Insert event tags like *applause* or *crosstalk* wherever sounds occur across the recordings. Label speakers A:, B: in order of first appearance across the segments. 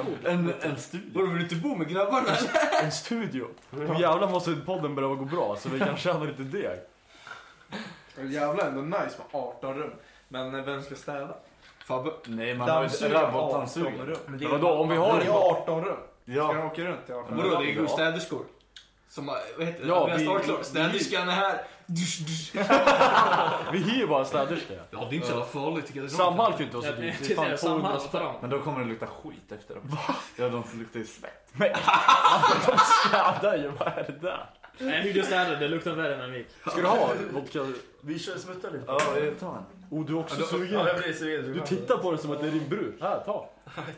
A: inte.
B: En studio.
A: Vadå, vill du inte bo med grabbarna?
B: En studio. Nu jävlar måste podden börja gå bra så vi kan tjäna lite deg.
A: Jävlar ändå nice med 18 rum. Men eh, vem ska städa? Fabbe?
C: Nej, man har ju inte robotdammsugare.
A: rum.
B: Men vadå, om vi har
A: Det är 18 rum. Ska
C: Ja.
A: de åka runt i 18 rum?
C: Men-
D: Vadå, det
C: Ja.
D: går städerskor. Som, har- vad heter det?
B: Ja,
D: Andreas
B: vi-
D: Starklar.
B: vi-
D: Städerskan är här. Dusch, dusch.
B: Vi hyr ju bara en städerska.
D: Ja, det är inte så jävla farligt tycker jag.
B: Samhall kan ju inte vara så
E: Jag
B: dyrt.
E: tänkte
B: Det är
E: säga
B: fan 200
E: samma.
B: spänn.
C: Men då kommer det lukta skit efter dem. Va? Ja, de luktar ju svett.
B: *laughs* Städar ju, vad är det där?
E: Nej, *laughs* hur du städade, det luktar värre än en vik.
B: Ska du ha vodka?
F: Vi kör smutta lite.
C: Ja, jag tar en.
B: Oh, du är också
F: Ja,
B: sugen.
F: jag blir sugen.
B: Du tittar på det som att det är din brud. Här, ta.
E: Jag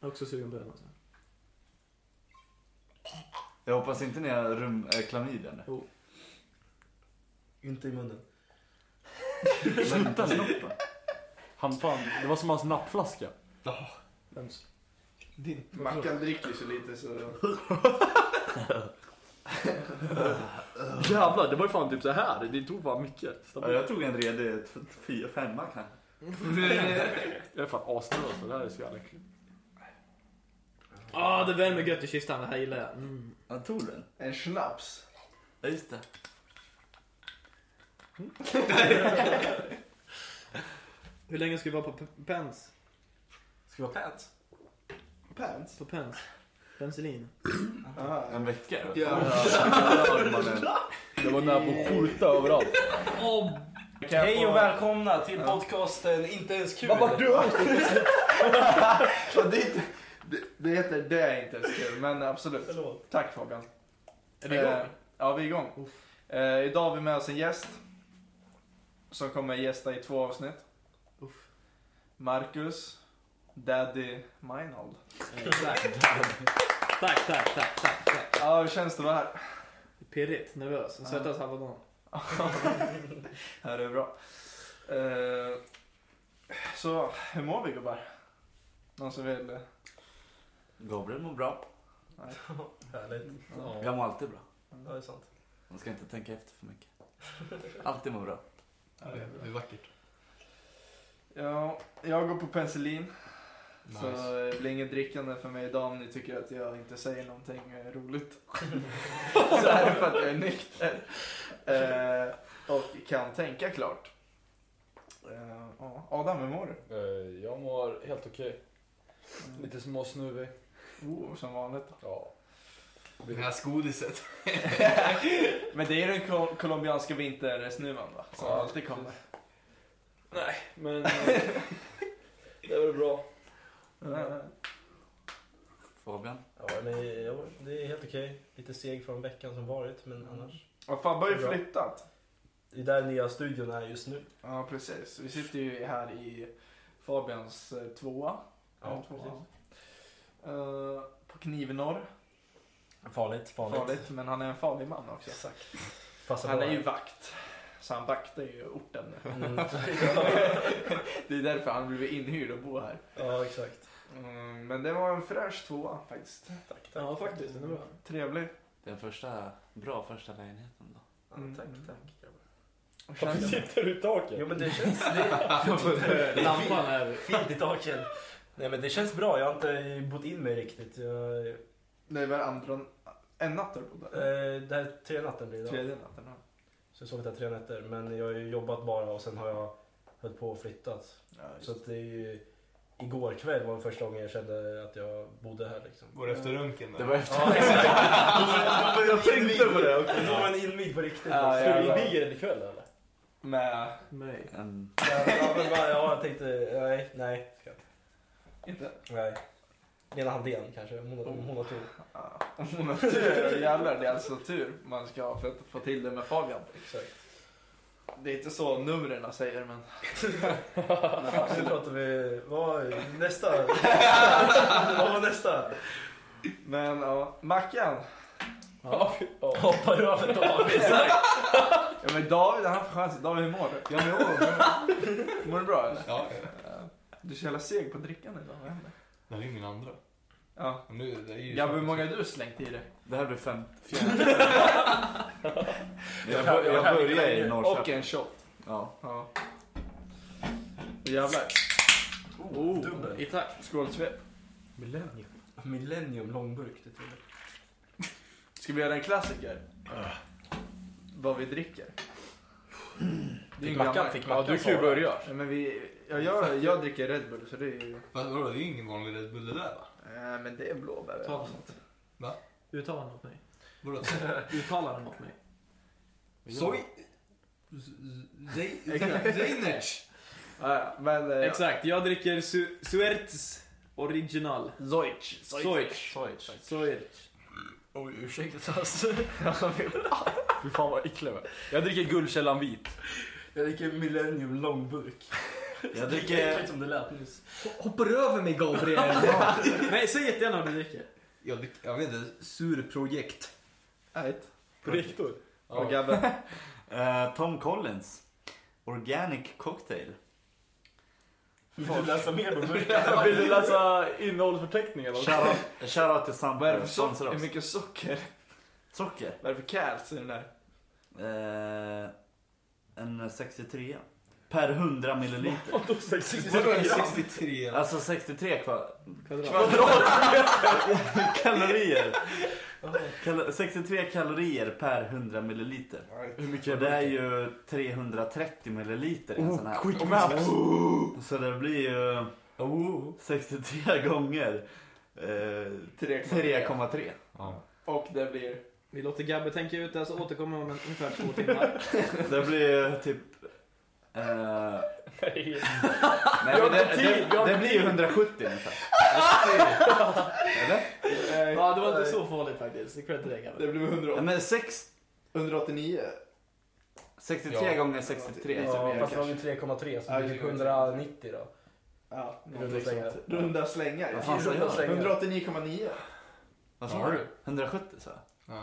E: är också sugen på den. Alltså.
C: Jag hoppas inte ni har rum, äh, klamydia nu.
F: Inte i munnen.
B: Sluta snoppen. Han fan, det var som hans nappflaska.
E: Vems?
A: Mackan dricker så lite så...
B: Jävlar, det var ju fan typ så här. Det tog fan mycket.
C: Ja,
B: Stabilt.
C: jag tog en redig t- fyra, femma kanske.
B: Jag är fan asnervös för det här är så jävla äckligt.
E: Ah, det värmer gött i kistan. Det här gillar jag. Mm.
C: Ja, tog du den?
A: En snaps.
C: Ja, just det.
E: Hur länge ska vi vara på p- pens?
A: Ska vi ha pants? Pants?
E: På pens? Penicillin?
A: Aha.
C: En vecka?
D: *laughs*
C: då?
A: Ja.
B: Jag var nära på att skjuta överallt.
F: Hej och välkomna till podcasten Inte ens kul.
A: Ja, det, är inte, det, det heter Det är inte ens kul, men absolut.
F: Förlåt.
A: Tack Fabian.
E: Är det igång?
A: Eh, ja, vi är igång. Eh, idag har vi med oss en gäst. Som kommer gästa i två avsnitt.
E: Uff.
A: Marcus Daddy Meinhold.
E: Eh, Tack. tack, tack, tack, tack, tack.
A: Ja, hur känns det att vara här?
E: Pirrigt, nervös. Den svettas halva dagen.
A: här är bra. Eh, så, hur mår vi gubbar? Någon som vill? eh,
C: Gabriel mår bra.
F: Härligt.
E: Ja.
C: Jag mår alltid bra.
F: Ja, det är sant.
C: Man ska inte tänka efter för mycket. Alltid mår bra.
D: Det är vackert.
A: Ja, jag går på penicillin. Så
D: Nice.
A: det blir inget drickande för mig idag om ni tycker att jag inte säger någonting eh, roligt. så är det för att jag är nykter. Eh, och kan tänka klart. Eh, ja. Adam, hur mår du?
B: Jag mår helt okej.
A: Mm.
B: Lite småsnuvig.
A: Oh, som vanligt.
B: Ja.
D: Det här skodiset.
A: *laughs* Men det är den kol- colombianska vintersnuvan va? Som
B: Ja,
A: alltid kommer.
B: Nej, men...
D: *laughs*
B: det var bra.
A: Eh,
C: Fabian?
F: Ja, men jag, det är helt okej. Lite seg från veckan som varit, men annars.
A: Och Fabbe har ju
F: Bra.
A: flyttat.
F: Det är där nya studion är just nu.
A: Ja, precis. Vi sitter ju här i Fabians eh, tvåa. Ja, precis. Eh, på Knivnorr.
F: Farligt, farligt.
A: Farligt, men han är en farlig man också.
F: Exakt. Alltså, Passa
A: Han
F: på
A: är ju
F: här.
A: vakt. Så han vaktar ju orten
F: *laughs*
A: nu.
F: Mm.
A: *laughs* det är därför han blev inhyrd och bor här.
F: Ja, exakt.
A: Mm, men det var en fräsch tvåa faktiskt.
F: Tack, tack.
E: ja, faktiskt. Den är bra.
A: Trevlig.
C: Den första, bra första lägenheten då.
F: Ja,
A: Mm.
F: tack, tack. grabbar.
A: Och känns-
B: Sitter du i taket?
F: Jo, men det känns... Det,
E: Lampan är...
F: *laughs* fint i taket. Nej, men det känns bra. Jag har inte bott in mig riktigt. Jag, eh,
A: Det var andra... En natt har du bott där?
F: det här är tre natten blir det idag.
A: Tredje natten. ja.
F: Så jag har sovit där tre nätter. Men jag har ju jobbat bara och sen har jag höll på och flyttat.
A: Ja, just
F: Så att det är ju... Igår kväll var den första gången jag kände att jag bodde här liksom.
D: Går efter runken
C: Det var efter...
F: Ja, exakt.
C: jag tänkte på det!
F: Då var den invigd på riktigt.
A: Ja,
F: liksom.
B: Ska du inviga den ikväll eller?
A: det. Med...
E: Nej.
C: En,
F: Ja, men bara, ja, jag tänkte, nej, nej.
A: Inte?
F: nej. Lena Handén kanske, om hon, om hon har tur.
A: Ja. *laughs* Om hon har tur. Jävlar, det är alltså tur man ska ha för att få till det med Fabian.
F: Exakt.
A: Det är inte så numren säger men...
F: Nu pratar vi, vad, *laughs* nästa? vad var nästa?
A: Men ja, Mackan.
B: Ja.
F: Hoppar du över David?
A: Ja men David han får chansen. David hur mår du?
D: Ja, men jag mår bra.
A: Mår du bra eller?
D: Ja,
A: Du är så jävla seg på drickan idag, vad händer?
D: det här är min andra.
A: Ja.
D: Men nu, det är ju
A: Gabbe, hur många har du slängt i dig?
C: det här blir fem. *laughs* jag, bör, jag börjar i
A: Och
C: Norrköping.
A: en shot.
C: Ja.
A: Ja. Jävlar.
F: Dubbel.
E: I takt.
F: Oh,
A: Skålsvep.
E: Millennium.
F: Millennium långburk, det tror jag.
A: Ska vi göra en klassiker? Vad vi dricker. Det är en
F: Fick Mackan-
A: gammal-
F: fick
A: Ja,
F: Mackan
A: du kan ju
F: svara.
A: börja. Nej, Men vi, ja, jag, jag dricker Red Bull så det är ju...
D: Vad- Vadå, det är ju ingen vanlig Red Bull det där va?
A: Eh, men det är blåbär.
E: Ta något.
A: *laughs*
E: Uttala den åt mig.
D: Vadå?
E: Uttala den åt
F: Eh,
E: mig.
D: Soy... Zeinec!
A: Ja, ja, men... eh,
E: Exakt, jag dricker Su- Suerts original.
A: Zoich.
E: Soich.
C: Schweiz.
E: Soich.
D: Oj, ursäkta alltså.
G: Fy fan vad äcklig jag är. Jag dricker Guldkällan vit.
F: Jag dricker Millennium långburk.
C: Jag
F: Det är
C: dricker...
F: som det lät nyss.
E: Hoppar du över mig
A: *laughs*
E: Gabriel? Nej, säg jättegärna vad du dricker.
D: Jag, drick- jag vet inte, surprojekt.
A: Right.
E: På riktigt.
A: Och Gabbe.
C: Eh, Tom Collins. Organic cocktail.
F: Vill du läsa mer på burken?
G: Vill du läsa innehållsförteckningen också?
C: Shoutout shout till
A: *laughs* Vad är
C: Samper.
A: det för socker?
C: Sponsrar
A: Hur
C: oss.
A: mycket socker?
C: Socker.
A: Vad är det för kals i den där?
C: Eh, en 63. Per 100 milliliter.
E: Vadå 60?
D: Vadå en 63?
C: Alltså 63 kvar.
E: Kvadrat.
C: Kvadratmeter kalorier. Kal- 63 kalorier per 100 milliliter.
G: Hur mycket
C: Och det är ju 330 milliliter i en sån här.
G: Quick maps.
C: Så det blir ju 63 gånger eh, 3,3.
A: Och det blir...
E: Vi låter Gabbe tänka ut det, så alltså återkommer om en- ungefär två timmar.
C: Det blir ju typ... Eh,
G: Jag
C: nej,
G: har
C: men det,
G: inte tid, jag
C: det,
G: har
C: det
G: inte
C: blir ju 170 ungefär. Eller?
E: ja, det var inte så farligt faktiskt. Det är cred till dig Gabbe.
A: Det blir
C: Ja,
A: 100,
C: men sex,
A: 189.
C: 63
D: Ja.
C: gånger 63 så
F: Ja,
C: blir det
F: fast det var
C: kanske.
F: ju 3,3 så
A: Ja,
F: det blir
A: det är
F: typ 190 då.
A: Ja,
F: Runda slängar.
A: Runda slängar.
C: Vad fan sa jag?
A: Runda slängar. 189,9.
C: Vad sa
D: Ja,
C: du?
D: du.
C: 170 sa jag.
D: Ja.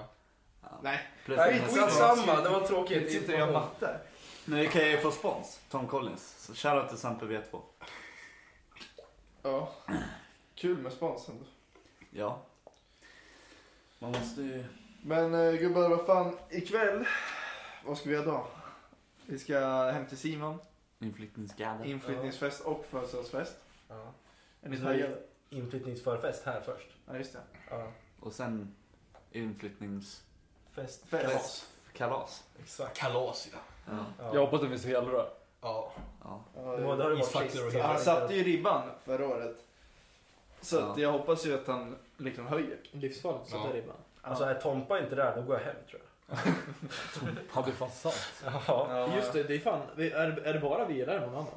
A: Nej.
C: Plus
F: Nej,
C: minus-
F: skitsamma, det var
A: Jag
F: tråkigt.
A: sitter och gör matte.
C: Nu kan jag ju få spons. Tom Collins. Så Shoutout till Sampe V2.
A: Ja. Kul med sponsen.
C: Ja. Man måste ju...
A: Men eh, gubbar, vad fan. Ikväll, vad ska vi göra då? Vi ska hem till Simon.
C: Inflyttningsgadder.
A: Inflyttningsfest och födelsedagsfest.
F: Ja.
A: Är ni taggade?
F: Inflyttningsförfest här först.
A: Ja, just det.
F: Ja.
C: Och sen inflyttningskalas.
F: Fest.
A: Fest.
C: Kalas.
F: Exakt.
D: Kalas ja.
C: Ja.
F: Ja.
G: Jag hoppas den finns helröd.
D: Ja.
C: ja.
A: Ja,
F: Det var- det har det varit
D: Isfaktor
F: sist.
D: och
A: Ja,
D: hela
A: Han satte ju ribban förra året. Så
C: Ja.
A: att jag hoppas ju att han liksom höjer.
E: Livsfarligt så där ribban.
F: Alltså är Tompa inte där, då går jag hem tror jag.
G: Ja, det är fan sant.
F: Ja.
A: Ja.
E: Just det, det är fan. vi- Är, är det bara vi eller är det någon annan?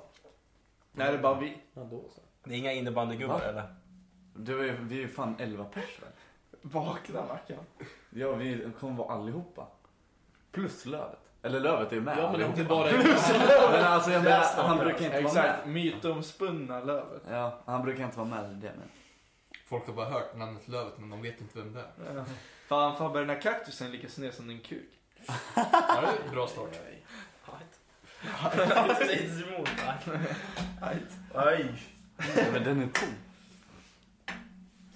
A: Nej, det är bara vi.
E: Ja, då så.
F: Det är inga innebandygubbar
C: Va?
F: eller?
C: Du, är- vi är ju fan 11 pers väl?
A: Vakna Mackan.
C: Ja, vi kommer vara allihopa. Plus Lövet. Eller Lövet är ju med
E: Ja, men
C: allihopa.
E: inte bara
C: *laughs* Men alltså jag menar, han brukar inte vara med.
A: Exakt, mytomspunna Lövet.
C: Ja, han brukar inte vara med i det men.
D: *laughs* Folk har bara hört namnet Lövet men de vet inte vem det är.
A: Ja. Fan Fabbe, den här kaktusen är lika sned som din *laughs* kuk.
D: Ja, det är en bra start.
E: *laughs*
F: Det säger inte emot. Aj.
C: Ja, men den är tom.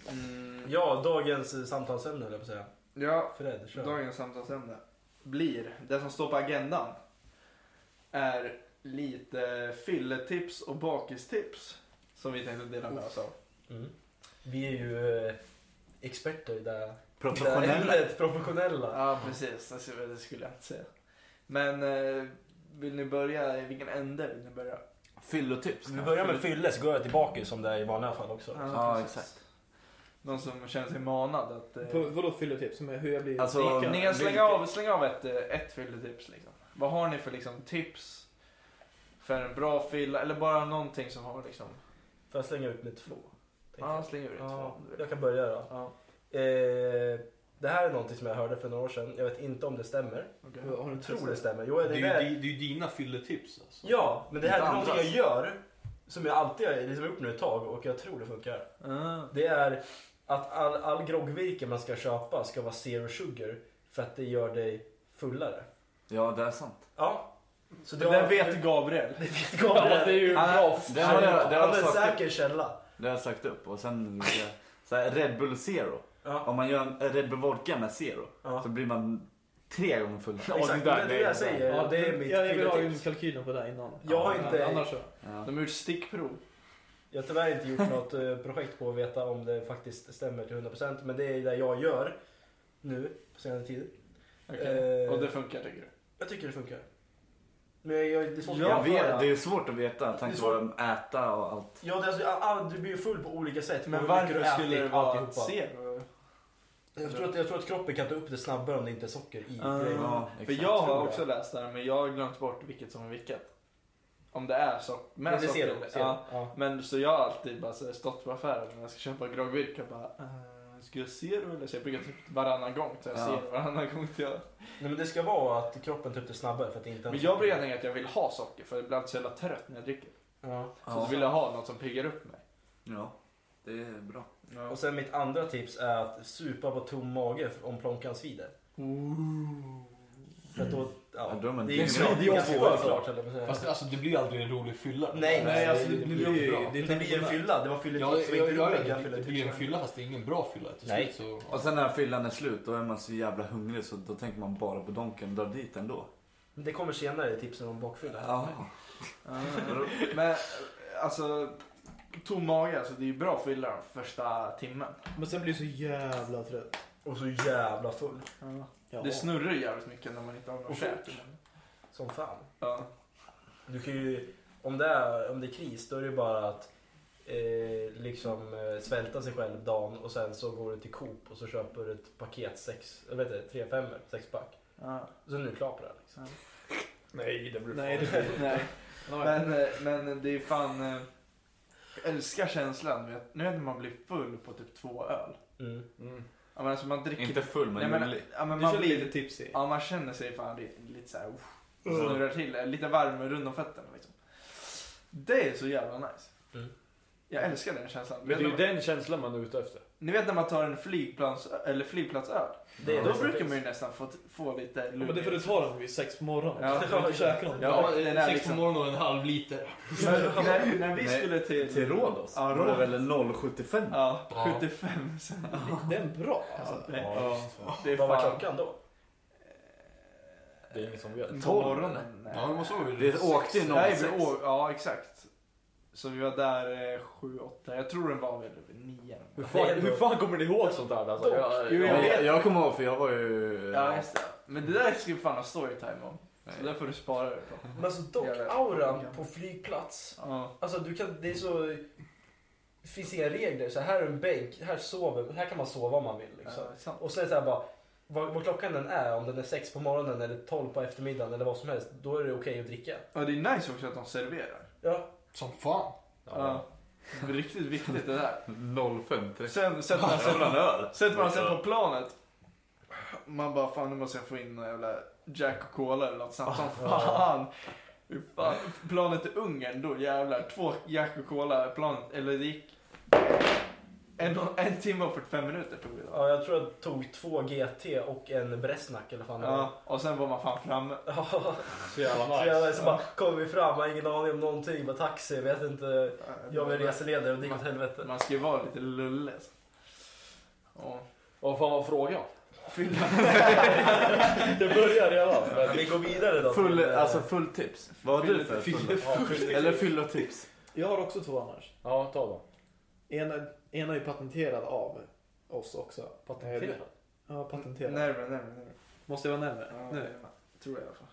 A: Mm.
F: Ja, dagens samtalsämne höll jag på att säga.
A: Ja,
F: Fred, kör.
A: dagens samtalsämne blir, det som står på agendan, är lite fylletips och bakistips. Som vi tänkte dela med oss av.
F: Mm. Vi är ju eh, experter i det det
C: Professionella.
F: ämnet, professionella.
A: Ja, precis. Alltså, det skulle jag inte säga. Men eh, vill ni börja, i vilken ände vill ni börja?
C: Fyllotips.
F: Vi börjar med fylle så går jag tillbaka som det är i vanliga fall också.
C: Ja,
A: precis.
C: exakt.
A: Någon som känner sig manad att... eh,
E: På, vadå fylletips? Med Hur jag blir
C: Alltså,
A: Ni kan slänga
C: vilka-
A: av, slänga av ett, eh, ett fylletips. Liksom. Vad har ni för liksom, tips för en bra fylla? Eller bara någonting som har liksom...
F: Får jag slänga ut med två? tänker
A: Ja,
F: jag.
A: släng ur ett
F: Ja,
A: två om du vill.
F: jag kan börja då.
A: Ja,
F: Eh, det här är någonting som jag hörde för några år sedan. Jag vet inte om det stämmer.
A: okej.
E: Har du
F: Jag tror
E: tror
F: det
E: det?
F: stämmer. Jo, det
D: Det
F: är,
D: är
F: väl-
D: ju, det är ju dina fylletips alltså.
F: Ja, men det här
C: Inte
F: är någonting jag
C: andras.
F: gör. Som jag alltid har liksom gjort nu ett tag och jag tror det funkar.
A: Ah,
F: Det är att all, all groggvirke man ska köpa ska vara zero sugar. För att det gör dig fullare.
C: Ja, det är sant.
F: Ja. Så
A: det där vet Gabriel.
F: *laughs* det vet
E: Ja, det är
F: Gabriel.
E: ju
A: Han-
E: bra.
C: Det har jag, det har
F: Han
C: jag,
F: är en
C: sagt, upp.
F: säker källa.
C: det har jag sagt upp. Och sen så här, Red Bull Zero.
F: Ja,
C: Om man gör en Red Bull Vodka med Zero
F: ja.
C: så blir man tre gånger full.
F: Exakt,
G: det där-
F: men det är det jag säger.
E: Ja,
F: det är mitt
E: jag, jag vill ha
F: fylletips.
E: kalkylen på det här innan.
F: Jag har
E: Ja,
F: inte...
E: Annars så.
C: Ja.
A: De har gjort stickprov.
F: Jag har tyvärr inte gjort något eh, projekt på att veta om det faktiskt stämmer till 100% men det är det jag gör nu på senare tid.
A: Okej.
F: Eh.
A: Och det funkar tycker du?
F: Jag tycker det funkar. Men jag, jag, det är svårt att
C: Jag vet,
F: jämföra.
C: det är svårt att veta.
F: Det är
C: Tänk
F: svårt.
C: på äta och allt.
F: Ja, det är alltså, all, du blir ju full på olika sätt. på
A: Men
F: hur mycket
A: varför
F: du
A: skulle
F: ätit,
A: det vara
F: alltihopa.
A: ett zero?
F: Jag tror, att, jag tror att kroppen kan ta upp det snabbare om det inte är socker i.
A: Ah.
F: grejen.
C: Ja,
A: För
C: exakt.
A: jag
F: Tror
A: har
F: jag.
A: också läst det här men jag har glömt bort vilket som är vilket. Om det är så. Med
F: Men det
A: socker.
F: ser du. Ser
A: ja.
F: du. Ja.
A: Men så jag har alltid bara så här, stått på affären när jag ska köpa groggvirke och bara eh, Ska jag se det eller? Så jag brukar typ varannan gång så jag
C: Ja.
A: ser det varannan gång till jag...
F: Nej, men det ska vara att kroppen tar upp det snabbare för att det inte
A: Men jag brukar tänka att jag vill ha socker för jag blir alltid så jävla trött när jag dricker.
F: ja.
A: Så då vill jag ha något som piggar upp mig.
C: Ja, det är bra.
F: Och sen mitt andra tips är att supa på tom mage om plånkan svider. För att då... Ja,
C: Ja, då är man
F: det är ju
C: dyngrak.
F: klart-
C: Det är
F: ganska
C: två, alltså.
F: klart eller vad säger jag?
D: Fast alltså, det blir aldrig en rolig fylla. Nej,
F: Nej, men alltså,
D: det-
F: det,
D: det
F: blir ju
D: bra.
F: det, blir en fylla. Det var
D: Ja,
F: fylletips.
D: ja,
F: det var inte
D: ja,
F: roliga
D: det, det
F: fylletips.
D: blir en fylla fast det är ingen bra fylla. Till
F: Nej.
D: slut så...
C: Och sen när fyllan är slut, då är man så jävla hungrig så då tänker man bara på donken och drar dit ändå.
F: Men Det kommer senare i tipsen om bakfylla.
C: Ja.
A: Ah. Men alltså, tom mage, alltså, det är ju bra att fylla den första timmen.
H: Men sen blir du så jävla trött.
F: Och så jävla full.
H: Ja.
A: Det snurrar ju jävligt mycket när man inte har
F: Och
A: något käk.
F: Som fan.
A: Ja.
F: Du kan ju, om, det är, om det är kris då är det ju bara att eh, liksom eh, svälta sig själv dagen och sen så går du till Coop och så köper du ett paket sex, jag vet inte, tre femmor, sex pack.
A: Ja.
F: Så är du klar på det här, liksom.
H: Nej, det blir
A: Nej,
H: farligt.
A: det, nej. Men, eh, men det är fan... eh, Jag älskar känslan. Vet, nu när man blir full på typ två öl.
F: Mm.
A: Ja, men alltså man dricker...
C: Inte full
A: nej,
C: men
A: men,
C: ljuvlig.
A: ja, men
H: Du
A: man
H: känner
A: blir
H: lite tipsy.
A: Ja, man känner sig fan li- lite såhär... uff, Snurrar till. eh, Lite varm runt om fötterna liksom. Det är så jävla nice.
F: Mm.
A: Jag älskar den känslan.
H: Men det är
A: Vet
H: ju
A: ni-
H: den känslan man är ute efter.
A: Ni vet när man tar en flygplans, eller flygplatsöl?
F: Det är
A: Då
F: det som
A: brukar
F: finns.
A: man ju nästan få, få lite
H: Ja, men det får du ta den vid sex på morgonen.
F: *laughs*
A: Ja.
H: Du kan inte käka någon.
A: Ja,
D: Ja,
A: den är
D: sex
A: liksom-
D: på morgonen och en halv liter.
A: *laughs* Men när, när vi
C: Nej,
A: skulle till...
C: Till Rhodos
A: Ja,
C: var det
A: Rhodos.
C: väl en 0,75?
A: Ja,
D: Ja.
A: 75 sen.
H: Det är en bra alltså.
A: det,
F: Ja.
A: det är
F: Vad var
A: fan...
F: klockan då?
H: Det är ingen som vet.
A: på
C: Tolv,
A: Eh, morgonen.
D: Ja, det måste vara
C: Det åkte ju
A: Nej,
C: 06.
A: vi å- ja, exakt. Så vi var där eh, 7-8. Jag tror den var väl 9.
H: Hur
F: Det är
H: fan,
F: ändå-
H: hur fan kommer ni ihåg sånt här? Alltså?
F: Dock.
H: Jag,
A: Jo,
C: Ja,
A: jag
H: jag,
A: vet.
C: jag, jag kommer ihåg för jag var ju... eh,
A: Ja, just det. Men det där ska vi fan ha storytime om. Så
C: Nej.
A: där får du spara det på.
F: Men alltså dock,
A: Jävlar.
F: auran på flygplats.
A: Ja.
F: Alltså du kan, det är så... Det finns inga regler. Så här är en bänk, här, sover, här kan man sova om man vill. Liksom.
A: ja, sant.
F: Och sen så här bara, vad, vad klockan än är, om den är sex på morgonen eller 12 på eftermiddagen eller vad som helst, då är det okej att dricka.
A: Ja, det är nice också att de serverar.
F: Ja.
D: Som fan.
A: Ja. Det är riktigt viktigt det där.
C: 0,50.
A: Sen sätter man sig,
C: öl.
A: sätter man sig på planet. Man bara fan nu måste jag få in någon jävla Jack och Cola eller något sånt *laughs* som fan. Hur fan. Planet till Ungern då jävlar. Två Jack och Cola planet. Eller det gick. En, en timme och 45 minuter tog det. då.
F: ja, jag tror jag tog två GT och en Bresnak eller vad fan det var.
A: Ja, och sen var man fan framme.
F: Ja.
H: så jävla
F: *laughs* Så
H: nice.
F: jag så bara kom vi fram, har ingen aning om någonting, bara taxi, vet inte. Jag är reseledare och det gick åt helvete.
A: Man ska ju vara lite lulle. alltså. Ja.
H: Vad fan var frågan?
A: Fylla.
H: *laughs* Det börjar redan.
F: Men vi går vidare då.
C: Full,
F: till, eh,
C: alltså full tips. Vad har du för full? Eller fyllotips?
H: Jag har också två annars.
E: Ja, ta då.
H: Ena, ena är ju patenterad av oss också.
E: Patentera.
H: Ja, patenterad.
A: Närmare, närmare, närmare.
H: Måste jag vara närmare?
A: Ja,
H: nu.
A: Tror jag i alla fall.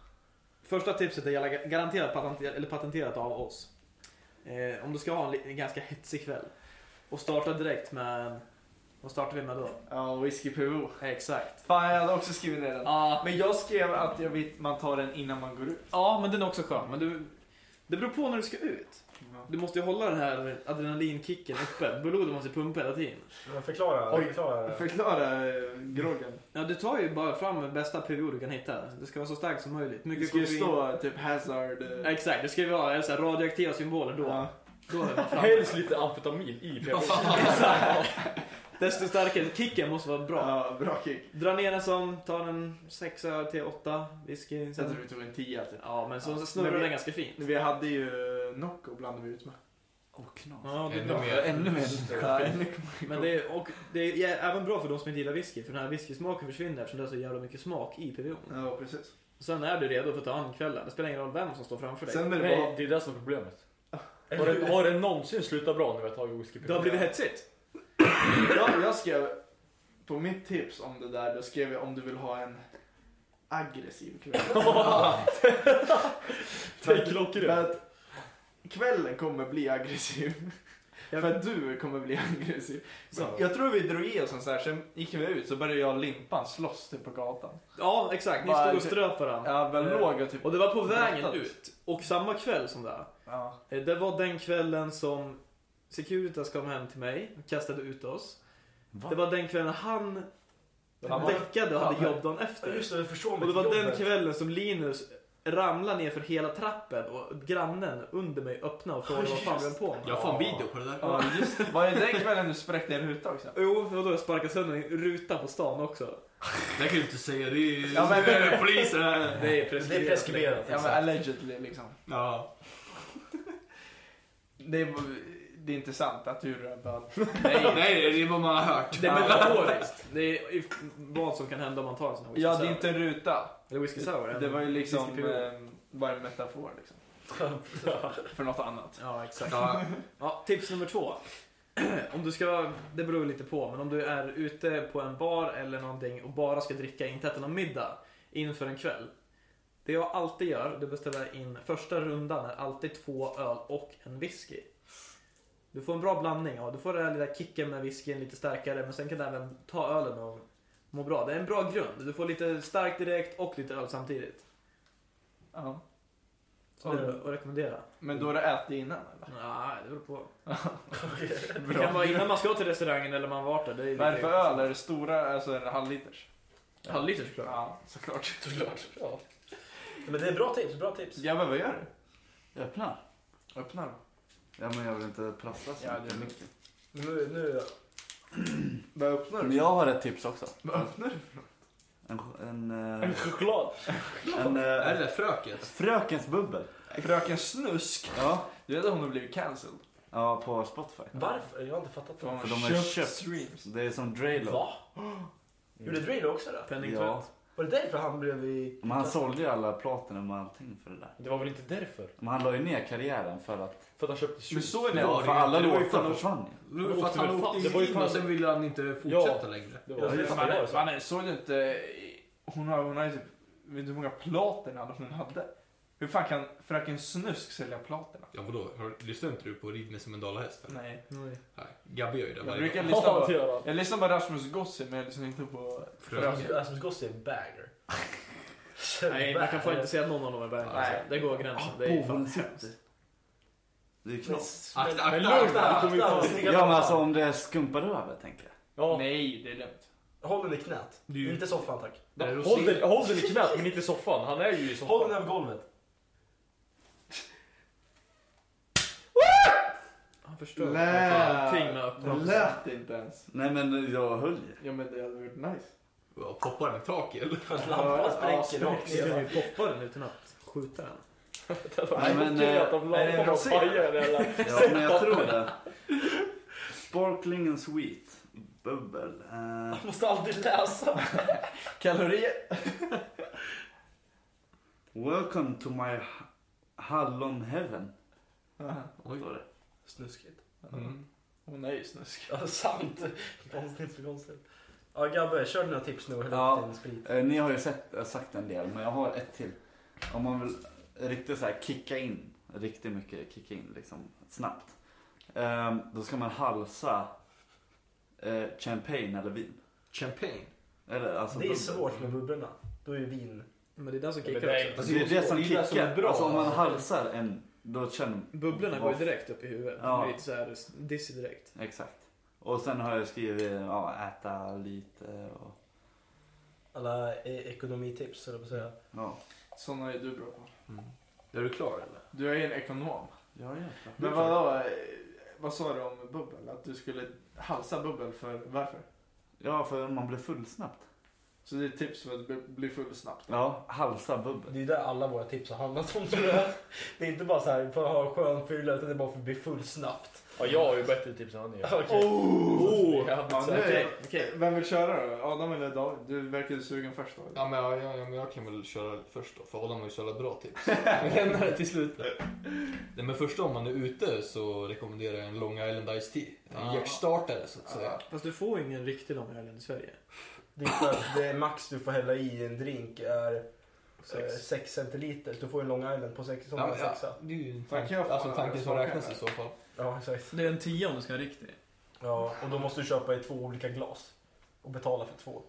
H: Första tipset är gar- garanterat patenter- eller patenterat av oss. Eh, om du ska ha en, li- en ganska hetsig kväll och starta direkt med en... Vad startar vi med då?
A: Ja, whisky PVO.
H: Exakt.
A: Fan, jag hade också skrivit ner den.
H: Ja,
A: Men jag skrev att jag vet, man tar den innan man går ut.
H: ja, men den är också skön. Men du, det beror på när du ska ut.
A: Ja.
H: Du måste ju hålla den här adrenalinkicken uppe. Blodet måste pumpa hela tiden.
F: men Förklara.
A: Oj.
F: förklara.
A: Förklara eh, groggen.
H: Ja, du tar ju bara fram den bästa PVO du kan hitta. Det ska vara så starkt som möjligt.
A: Det
H: Mycket
A: ska ju
H: koffein.
A: stå typ hazard. eh,
H: Exakt, det ska ju vara så här, radioaktiva symboler då.
A: ja.
H: Då är
A: *laughs*
H: man framme.
E: Helst lite amfetamin i PH.
H: *laughs* Desto starkare. Kicken måste vara bra.
A: Ja, bra kick.
H: Dra ner den som, ta den 6 till 8 whisky.
A: Jag tror
H: Sen,
A: vi tog en 10 typ.
H: ja, men så
A: Ja,
H: snurrar
A: men vi-
H: den ganska fint.
A: Vi hade ju eh, Nocco blandade vi ut med.
C: Och knas.
H: Ja, det är
D: Ännu
H: bra.
D: mer.
C: Ännu mer.
A: Ja, en-
H: Men det är, och det är jä- även bra för de som inte gillar whisky, för den här whiskysmaken försvinner eftersom det är så jävla mycket smak i PVO'n.
A: ja, precis.
H: Sen är du redo för att ta an kvällen. Det spelar ingen roll vem som står framför dig.
A: Sen är det
E: Nej,
A: bara...
E: det är det som är problemet.
I: Har det, har det någonsin slutat bra när vi har tagit whisky?
B: Det har blivit hetsigt.
A: Jag, jag skrev på mitt tips om det där, då skrev jag om du vill ha en aggressiv
B: *laughs*
A: kväll.
I: Det är klockrent.
A: För att kvällen kommer bli aggressiv. För att du kommer bli *laughs* aggressiv. Så jag tror vi drog i oss en sån här, sen gick vi ut så började jag och Limpan slåss typ på gatan.
B: Ja, exakt. Ni
A: Bara-
B: stod och ströp varandra.
A: Jag väl låg och typ...
B: Och det var på vägen
A: brottades.
B: ut. Och samma kväll som det här.
A: Ja.
B: Eh, Det var den kvällen som Securitas kom hem till mig och kastade ut oss.
C: Va?
B: Det var den kvällen han
F: Han var-
B: däckade och hade
F: Ja.
B: jobb dagen
F: Ja,
B: efter.
F: Just det, jag förstår
B: Och det
F: mig.
B: var den kvällen som Linus ramlade ner för hela trappen och grannen under mig öppnade och frågade vad fan vi höll på med.
J: Jag får en video på det där.
A: ja, just det. Var det den kvällen du spräckte en ruta också?
B: Jo, det var då jag sparkade sönder en ruta på stan också.
J: Det kan du inte säga, det är
A: Ja, men-
J: det är *laughs* polisen.
B: Det är
F: Det är preskriberat.
A: Ja men
F: exakt.
A: allegedly liksom.
J: Ja.
A: Det är, det är inte sant att du rör böter.
J: Nej, nej, det är vad man har hört.
B: Det är metaforiskt. Det är i- vad som kan hända om man tar en sån här whisky
A: Ja, det är
B: sour.
A: inte en ruta.
B: Eller whisky sour.
A: Det
B: eller-
A: var ju liksom
B: whisky pilot.
A: eh, bara en metafor liksom. För något annat.
B: Ja, exakt.
J: Ja,
B: Ja, tips nummer två. *clears throat* om du ska, det beror väl lite på, men om du är ute på en bar eller någonting och bara ska dricka, inte äta någon middag inför en kväll. Det jag alltid gör, det beställer jag in första rundan är alltid två öl och en whisky. Du får en bra blandning, ja. du får den här lilla kicken med whiskyn lite starkare men sen kan du även ta ölen och må bra. Det är en bra grund, du får lite starkt direkt och lite öl samtidigt.
A: Ja.
B: Så det är att rekommendera.
A: Men då har du ätit innan eller?
B: Nej, det beror på. Det
A: Bra.
B: kan vara innan man ska till restaurangen eller man varit där. Det är lite-
A: Vad är det för öl? Är det stora, alltså är det halvliters?
B: Halvliter såklart.
A: Ja, såklart. såklart.
F: Men det är bra tips, bra tips.
A: Ja men vad gör du?
C: Jag öppnar.
A: Öppnar den.
C: Ja, men jag vill inte prassla så
A: Ja, det är
C: mycket.
A: mycket.
F: Nu, nu,
A: Vad öppnar
C: Men
A: du?
C: jag har ett tips också.
A: Vad öppnar du?
C: En, en,
B: *laughs*
C: eh,
I: En choklad.
C: en, eh,
J: Eller fröket.
C: Frökens bubbel.
A: Fröken Snusk.
C: Ja.
A: Du vet att hon har blivit cancelled?
C: ja, på Spotify.
F: varför? Jag har inte fattat
A: För hon
F: det.
A: har
C: de har
A: köpt,
C: köpt.
A: streams.
C: Det är som Draylo.
F: Va? Gjorde Drilo också det?
C: Ja.
F: Var det därför han blev i...
C: Men han sålde ju alla platinum och allting för det där.
I: Det var väl inte därför?
C: Men han la ju ner karriären för att...
I: För att han köpte
A: Men
I: shoes.
A: så är det.
C: Ja,
A: Ja,
C: för alla
J: det var ju
C: låtar
J: fan-
C: försvann ju.
J: Nu för att
I: Det var
J: han
I: ju fan-
J: åkte
I: det var ju
J: in
I: fan-
J: och sen ville han inte fortsätta längre.
I: Det
F: Ja,
I: var
F: just
I: det.
F: det.
A: man,
F: Ja,
A: är,
F: så.
A: man är, såg du inte, eh, hon har, hon har ju typ, vet du hur många platina hon hade? Hur fan kan Fröken Snusk sälja platina?
J: Ja vadå, Har- lyssnar inte du på Rid mig som en dalahäst? eller?
A: Nej.
J: Nej. Gabby gör ju det
A: Jag
J: varje
A: brukar
J: dag.
A: lyssna
I: Ja, det
A: på,
I: gör han.
A: jag lyssnar på Rasmus Gossi men jag lyssnar inte på
J: Fröken.
A: Fröken.
F: Rasmus Gossi är en banger.
B: Nej, man kan fan inte säga att någon av dem är bärande.
A: Nej.
B: Det går gränsen. Det
A: Ah,
B: är fan hemskt.
C: Det är ju knas.
J: Akta,
I: Men
J: akta,
I: lugn,
J: akta!
I: det kommer ju fan...
C: Ja men alltså om det skumpar över tänker jag.
I: Ja.
A: Nej, det är lugnt.
F: Håll den i knät.
J: Det är ju-
F: Inte soffan tack.
J: Det är
I: Håll
J: rosé.
I: den, håll den i knät men inte i soffan. Han är ju i
F: Håll den
I: soffan.
F: över golvet.
B: Han förstör
A: Lä-
B: allting med öppna
A: Det lät inte ens.
C: Nej men jag höll ju.
A: Ja men det hade varit nice.
J: Ja, Poppar den i taket eller?
A: Ja,
F: Lampan spräcker
A: ja,
F: rakt
B: Du kan
F: ner.
B: ju poppa den utan att skjuta den.
C: Nej, men,
I: Okej,
C: eh,
I: att de
A: är det en
I: lampar
A: rosé?
I: pajar eller?
C: Ja men jag tror det. Sparkling and sweet. Bubbel. Eh,
F: Måste alltid läsa.
A: Kalorier.
C: welcome to my ha- hallon heaven.
J: Oj.
C: Står det.
F: Snuskigt.
J: Mm.
A: Hon är ju snusk.
F: Ja, sant. Konstigt för konstigt. Ja, Gabbe, kör dina tips nu och häll
C: Ja.
F: upp din sprit.
C: Eh, ni har ju sett, eh, sagt en del men jag har ett till. Om man vill riktigt så här kicka in. Riktigt mycket kicka in liksom snabbt. Eh, då ska man halsa eh, champagne eller vin.
J: Champagne.
C: Eller, alltså
F: Det är
C: bubbel.
F: svårt med bubblorna. Då är ju vin...
B: Men det är den som
I: Ja, men
B: kickar
I: det är
B: också.
C: Alltså, det är det som
J: Det är det som är
C: kickar.
J: bra.
C: Alltså om man halsar en, då känner man.
B: Bubblorna går ju direkt upp i huvudet.
C: Ja.
B: De blir lite såhär dizzy direkt.
C: Exakt. Och sen har jag skrivit, ja, äta lite och,
F: Alla eh, ekonomitips, eller vad säga.
C: ja.
A: Såna är du bra på.
D: Mm.
J: Är du klar eller?
A: Du är ju en ekonom.
C: Ja, jäklar.
A: Men vadå? eh, Vad sa du om bubbel? Att du skulle halsa bubbel för varför?
C: Ja, för man blir full snabbt.
A: Så det är ett tips för att bli- bli full snabbt.
C: Ja, halsa bubbel.
F: Det är ju där alla *laughs* våra tips har handlat om tror jag. Det är inte bara så här för att ha skön fylla utan det är bara för att bli full snabbt.
B: Ja, jag har ju bättre tips än vad ni har.
H: Oh!
A: Ja, nu,
H: Okej, okej.
A: Eh, Vem vill köra då? Adam eller David? Du verkar ju sugen först då.
D: Ja men jag, jag, jag, jag kan väl köra först då, för Adam har ju så jävla bra tips. Vi lämnar det till slutet. Nej, men först om man är ute så rekommenderar jag en Long Island Ice Tea. En
H: Ah.
D: hjärtstartare så att säga.
H: Fast du får ju ingen riktig Long Island i Sverige.
F: Det, är för att det max du får hälla i en drink är
H: Sex.
F: 6 centiliter. Du får ju en Long Island på 6 som
D: Ja,
F: ja,
D: men, ja,
F: sexa.
D: det är ju en
A: Fan, kan
D: tanke,
A: jag få
D: alltså, tanken som
A: smaka
D: räknas
A: här?
D: i så fall.
F: Ja, exakt.
H: Det är en tia om du ska ha en riktig.
F: Ja, och då måste du köpa i två olika glas och betala för två.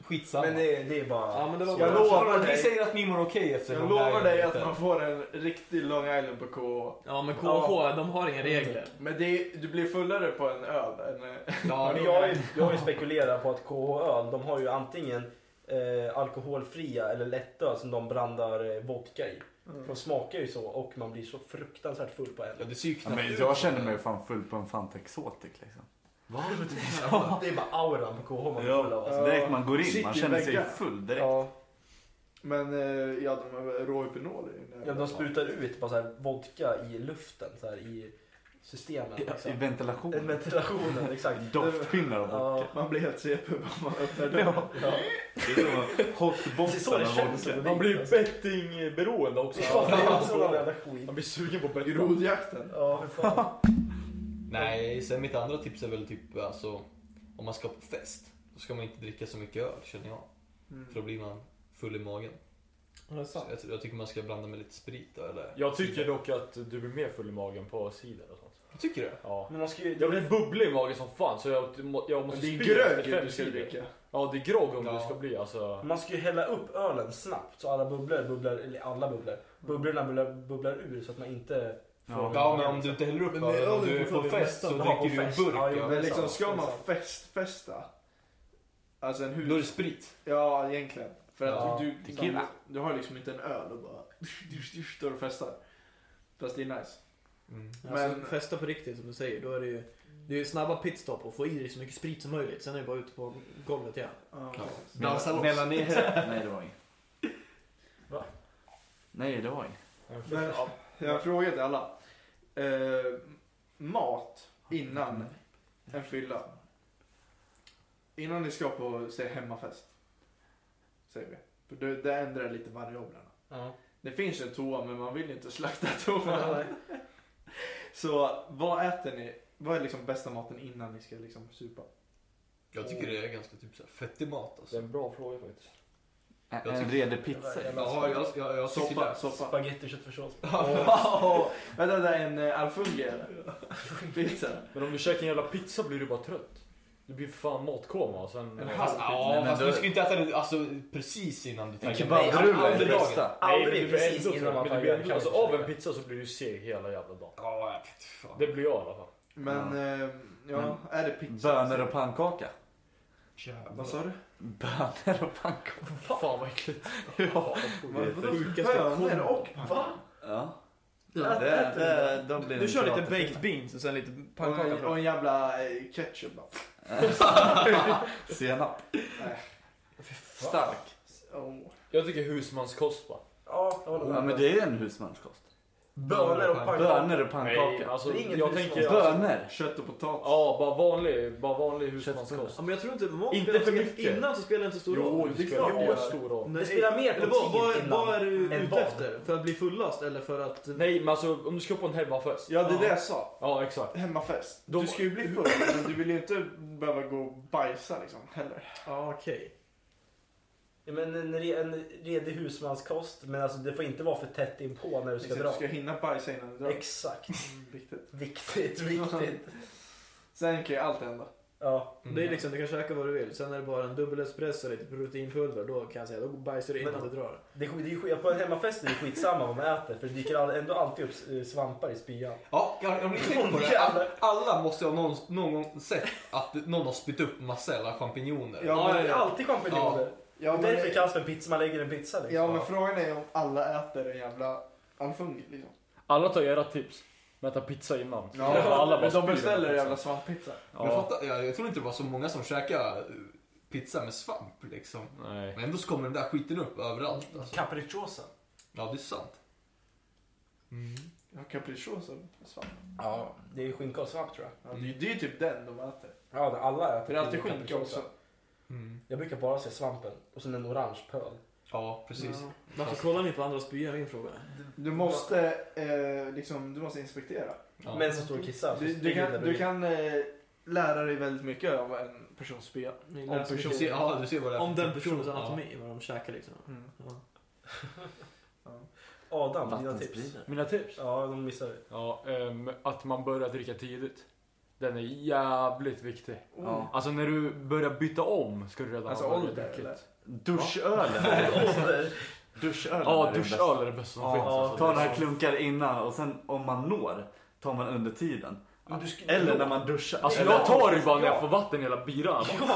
D: Skitsamma.
F: Men det, det är bara...
H: Ja, men det var
F: jag
H: bara-
F: lovar.
D: vi säger att ni mår okej efter
A: Jag
D: Long
A: lovar
D: Island
A: dig
D: ute.
A: att man får en riktig Long Island på KH.
H: Ja, men KH, de har inga regler.
A: Men det är, du blir fullare på en öl än... *laughs*
D: Ja,
F: Men jag, har ju- jag har ju spekulerat på att KH-öl, de har ju antingen eh, alkoholfria eller lättöl som de blandar eh, vodka i. För De smakar ju så och man blir så fruktansvärt full på en.
D: Ja, det ser ju
C: Ja,
D: knappt
C: men
D: ut
C: jag
D: så.
C: känner mig fan full på en Fanta Exotic liksom.
B: typ
F: *laughs* Det är bara auran på KH man blir full av. Alltså.
C: Alltså, direkt man går in,
A: Shit,
C: man känner sig
A: väggar.
C: full direkt.
A: Ja. Men eh, ja, de har råhypnol i den här.
F: Ja, de sprutar ut bara så här vodka i luften, så här, i systemen.
C: I
F: Liksom. I
C: ventilation.
F: ventilationen, exakt.
C: Doftpinnar av vodka.
F: Ja,
A: Man blir helt CP när man öppnar dörren.
F: ja.
C: Det är som en
F: Det är så
C: hotboxen
F: det
C: av
F: känns.
C: vodka.
B: Man blir ju bettingberoende också.
F: *laughs* Ja, det är en sån jävla skit.
B: Man blir sugen på betting.
A: Grodjakten.
F: Ja, för fan.
D: Nej, sen mitt andra tips är väl typ alltså om man ska på fest. Då ska man inte dricka så mycket öl känner jag. För då blir man full i magen. Så jag, jag tycker man ska blanda med lite sprit då, eller?
B: Jag tycker dock att du blir mer full i magen på cider och sånt.
D: Jag tycker det.
B: Ja.
F: Men man ska ju...
B: Jag blir bubblig i magen som fan så jag, må- jag
A: Men
B: måste
A: det är
B: spy efter
A: grög
B: fem
A: du ska
B: cider.
A: dricka.
B: Ja, det är grogg om
D: Ja.
B: det ska bli alltså.
F: Man ska ju hälla upp ölen snabbt så alla bubblor bubblar, eller alla bubblor, bubblorna bubblar, bubblar ur så att man inte
C: Ja,
D: Ja, men om du inte häller upp
E: Men det är
D: ölen om
E: öl
D: du
E: du
D: är på
E: får full i
D: fest så
E: nästan.
F: Ja, på
D: dricker du
F: fest.
D: en burk.
F: Ja, jo,
D: Ja,
F: det
A: Men
F: är
A: liksom,
F: sant, det
A: ska
F: är
A: man
F: sant.
A: festfesta? Alltså en hus...
D: Då är det sprit.
A: Ja, egentligen. För att
F: Ja,
A: du, du,
C: tequila.
A: du har liksom inte en öl och bara... *laughs* dusch, dusch, dusch, Står och festar. Fast det är nice.
H: Alltså,
A: Men-
H: festa på riktigt som du säger, då är det ju det är ju snabba pitstop och få i dig så mycket sprit som möjligt. Sen är det bara ute på golvet igen.
A: Ja.
D: Ja. Dansa loss.
C: Mellan, mellan ni Nej det var inget.
F: Va?
C: Nej det var inget.
A: Men, ja, jag har frågat alla. Eh, mat innan en fylla. Innan ni ska på säg, hemmafest. Säger vi. För det, det ändrar lite variablerna.
F: *laughs* Ja.
A: Det finns en toa men man vill ju inte slakta *laughs* toan. Så vad äter ni? Vad är liksom bästa maten innan ni ska liksom supa?
D: Jag tycker det är ganska typ så här fettig mat
B: Det är
D: alltså.
B: en bra fråga faktiskt.
C: En,
D: Jag
C: en
D: tycker-
C: redig pizza.
F: Ja,
D: Ja, jag, jag, jag tycker
A: Soppa,
D: det.
A: soppa.
D: *laughs*
F: Spagetti och köttfärssås.
A: Wow! Vänta, det är en eh, alfunge eller? Pizza.
B: Men om du käkar en jävla pizza blir du bara trött. Du blir fan matkoma och sen...
A: En
D: Fast,
C: Nej,
D: ja,
C: men
D: fast
C: då-
D: du ska inte äta det alltså, precis innan du
C: En
D: taggar.
C: kebabrulle är
D: aldrig
C: det
D: dagen.
C: bästa.
B: Nej, men du
F: Aldrig
B: blir
F: precis
B: ändå
F: innan
B: trött.
F: man
B: Men du blir
F: taggar
B: ändå, alltså, av en pizza så blir du seg hela jävla dagen.
D: Ja, jag vet fan.
B: Det blir jag i alla fall.
A: Men eh, ja, är det pizza?
C: Bönor och pannkaka.
A: Vad sa du?
C: Bönor och pannkaka.
B: Fan vad äckligt.
H: Sjukaste
A: Bönor
H: kombo.
A: och pannkaka.
C: Ja. Det, det, det, de blir
H: Du kör lite
C: gratis.
H: baked beans och sen lite
A: Och en,
H: pannkaka
A: och
H: på.
A: en jävla eh, ketchup bara.
C: Senap.
A: Nej.
C: Stark.
A: Åh.
B: Jag tycker husmanskost bara.
F: Ja, jag håller
C: Ja
F: med.
C: men det är en husmanskost.
F: Bönor och pannkakor.
C: Bönor och
B: Nej,
C: pannkaka.
B: alltså
F: Det är inget
B: jag
F: husmans-
B: tänker... Alltså,
C: Bönor.
A: Kött och potatis.
B: ja, bara vanlig, bara vanlig husmanskost.
D: Alltså,
H: Ja, men jag tror inte mat
B: Inte
H: spelar
B: för
H: så-
B: mycket.
H: Innan så spelar det inte så stor
B: Jo,
H: roll.
B: det spelar
A: klart det
B: ju
A: gör.
B: stor roll.
H: Nej,
F: Det spelar mer
H: eller
F: på
H: vad, vad,
F: tid
H: vad är du
F: innan än
H: ute
F: vad.
H: efter? För att bli fullast eller för att...
B: Nej men alltså om du ska på en hemmafest.
A: Ja, det är det jag sa.
B: Ja exakt.
A: Hemmafest.
B: Då-
A: Du ska ju bli full, men du vill ju inte behöva gå och bajsa liksom heller.
H: Ja, okej.
F: Ja, men en, re, en redig husmanskost, men alltså, det får inte vara för tätt inpå när du ska
A: Liksom,
F: dra.
A: du ska hinna bajsa innan du drar.
F: Exakt.
A: Mm, Viktigt.
F: Viktigt, viktigt.
A: Sen kan ju allt hända.
F: Ja,
D: Mm.
H: Det är liksom, du kan käka vad du vill. Sen är det bara en dubbel espresso och lite proteinpulver. Då kan jag säga, då bajsar du innan
F: Men-
H: du drar.
F: det, är sk- det är, sk- på en hemmafest är det skitsamma vad man äter för det dyker all, ändå alltid upp eh, svampar i
A: *laughs*
F: spyan.
D: Ja, jag, jag har tänkt på det.
F: Jävlar.
D: Alla, alla måste ju ha någon, någon gång sett att någon har spytt upp massa jävla champinjoner.
A: Ja, men-
F: det är alltid champinjoner.
A: Ja,
F: Och
A: men,
F: Därför kallas det för pizza, man lägger en pizza liksom.
A: ja, men frågan är om alla äter en jävla alfungi liksom.
B: Alla tar era tips. Men äta pizza innan.
A: Ja,
B: Därför alla bara
A: men de
B: spyr liksom.
A: beställer en
B: pizza.
A: jävla svamppizza.
D: Men
B: Ja.
D: fatta, jag, jag tror inte det var så många som käkade eh, pizza med svamp liksom.
B: Nej.
D: Men ändå så kommer den där skiten upp överallt. Alltså.
F: Capricciosa.
D: Ja, det är sant.
A: Ja, capricciosa svamp.
F: Ja, det är skinka och svamp tror jag.
A: Ja, det, det är ju typ den de äter.
F: Ja, det- alla äter
A: För det är alltid
F: pulver och
A: skinka
F: capricciosa.
A: också.
F: Jag brukar bara se svampen och sen en orange pöl.
D: Ja, precis.
H: Ja. Varför kollar ni på andras byar? Min fråga.
A: Du måste, eh, liksom, du måste inspektera.
D: Ja.
F: Män som står och kissar. så
A: Du, du
F: springer
A: kan,
F: den
A: du
F: bredvid.
A: kan eh, lära dig väldigt mycket av en persons spya.
H: Ni
A: Om
H: läser
A: person-
D: Du ser,
H: mycket-
D: ja, du ser vad det är
H: Om
D: för
A: typ
H: den personens
D: person.
H: anatomi, vad de käkar liksom.
A: Mm.
H: Ja.
F: Adam, dina tips.
C: Vattenspridare.
B: Mina tips?
F: Ja, de missar vi.
B: Ja, ehm, att man börjar dricka tidigt. Den är jävligt viktig.
A: Ja.
B: Alltså när du börjar byta om ska du redan
A: Alltså,
B: ha
A: ålder,
B: börjat dricka.
A: eller?
C: Duschölen är det
A: *laughs*
C: bästa. Duschölen
B: Ja,
C: är det bästa.
B: duschöl är det bästa som
C: Ja,
B: finns.
F: ja.
B: Alltså.
C: Ta några klunkar innan och sen om man når tar man under tiden.
F: Men du ska-
C: Eller när man duschar.
B: Alltså jag tar ju bara när jag får vatten i hela biran.
F: Ja, ja.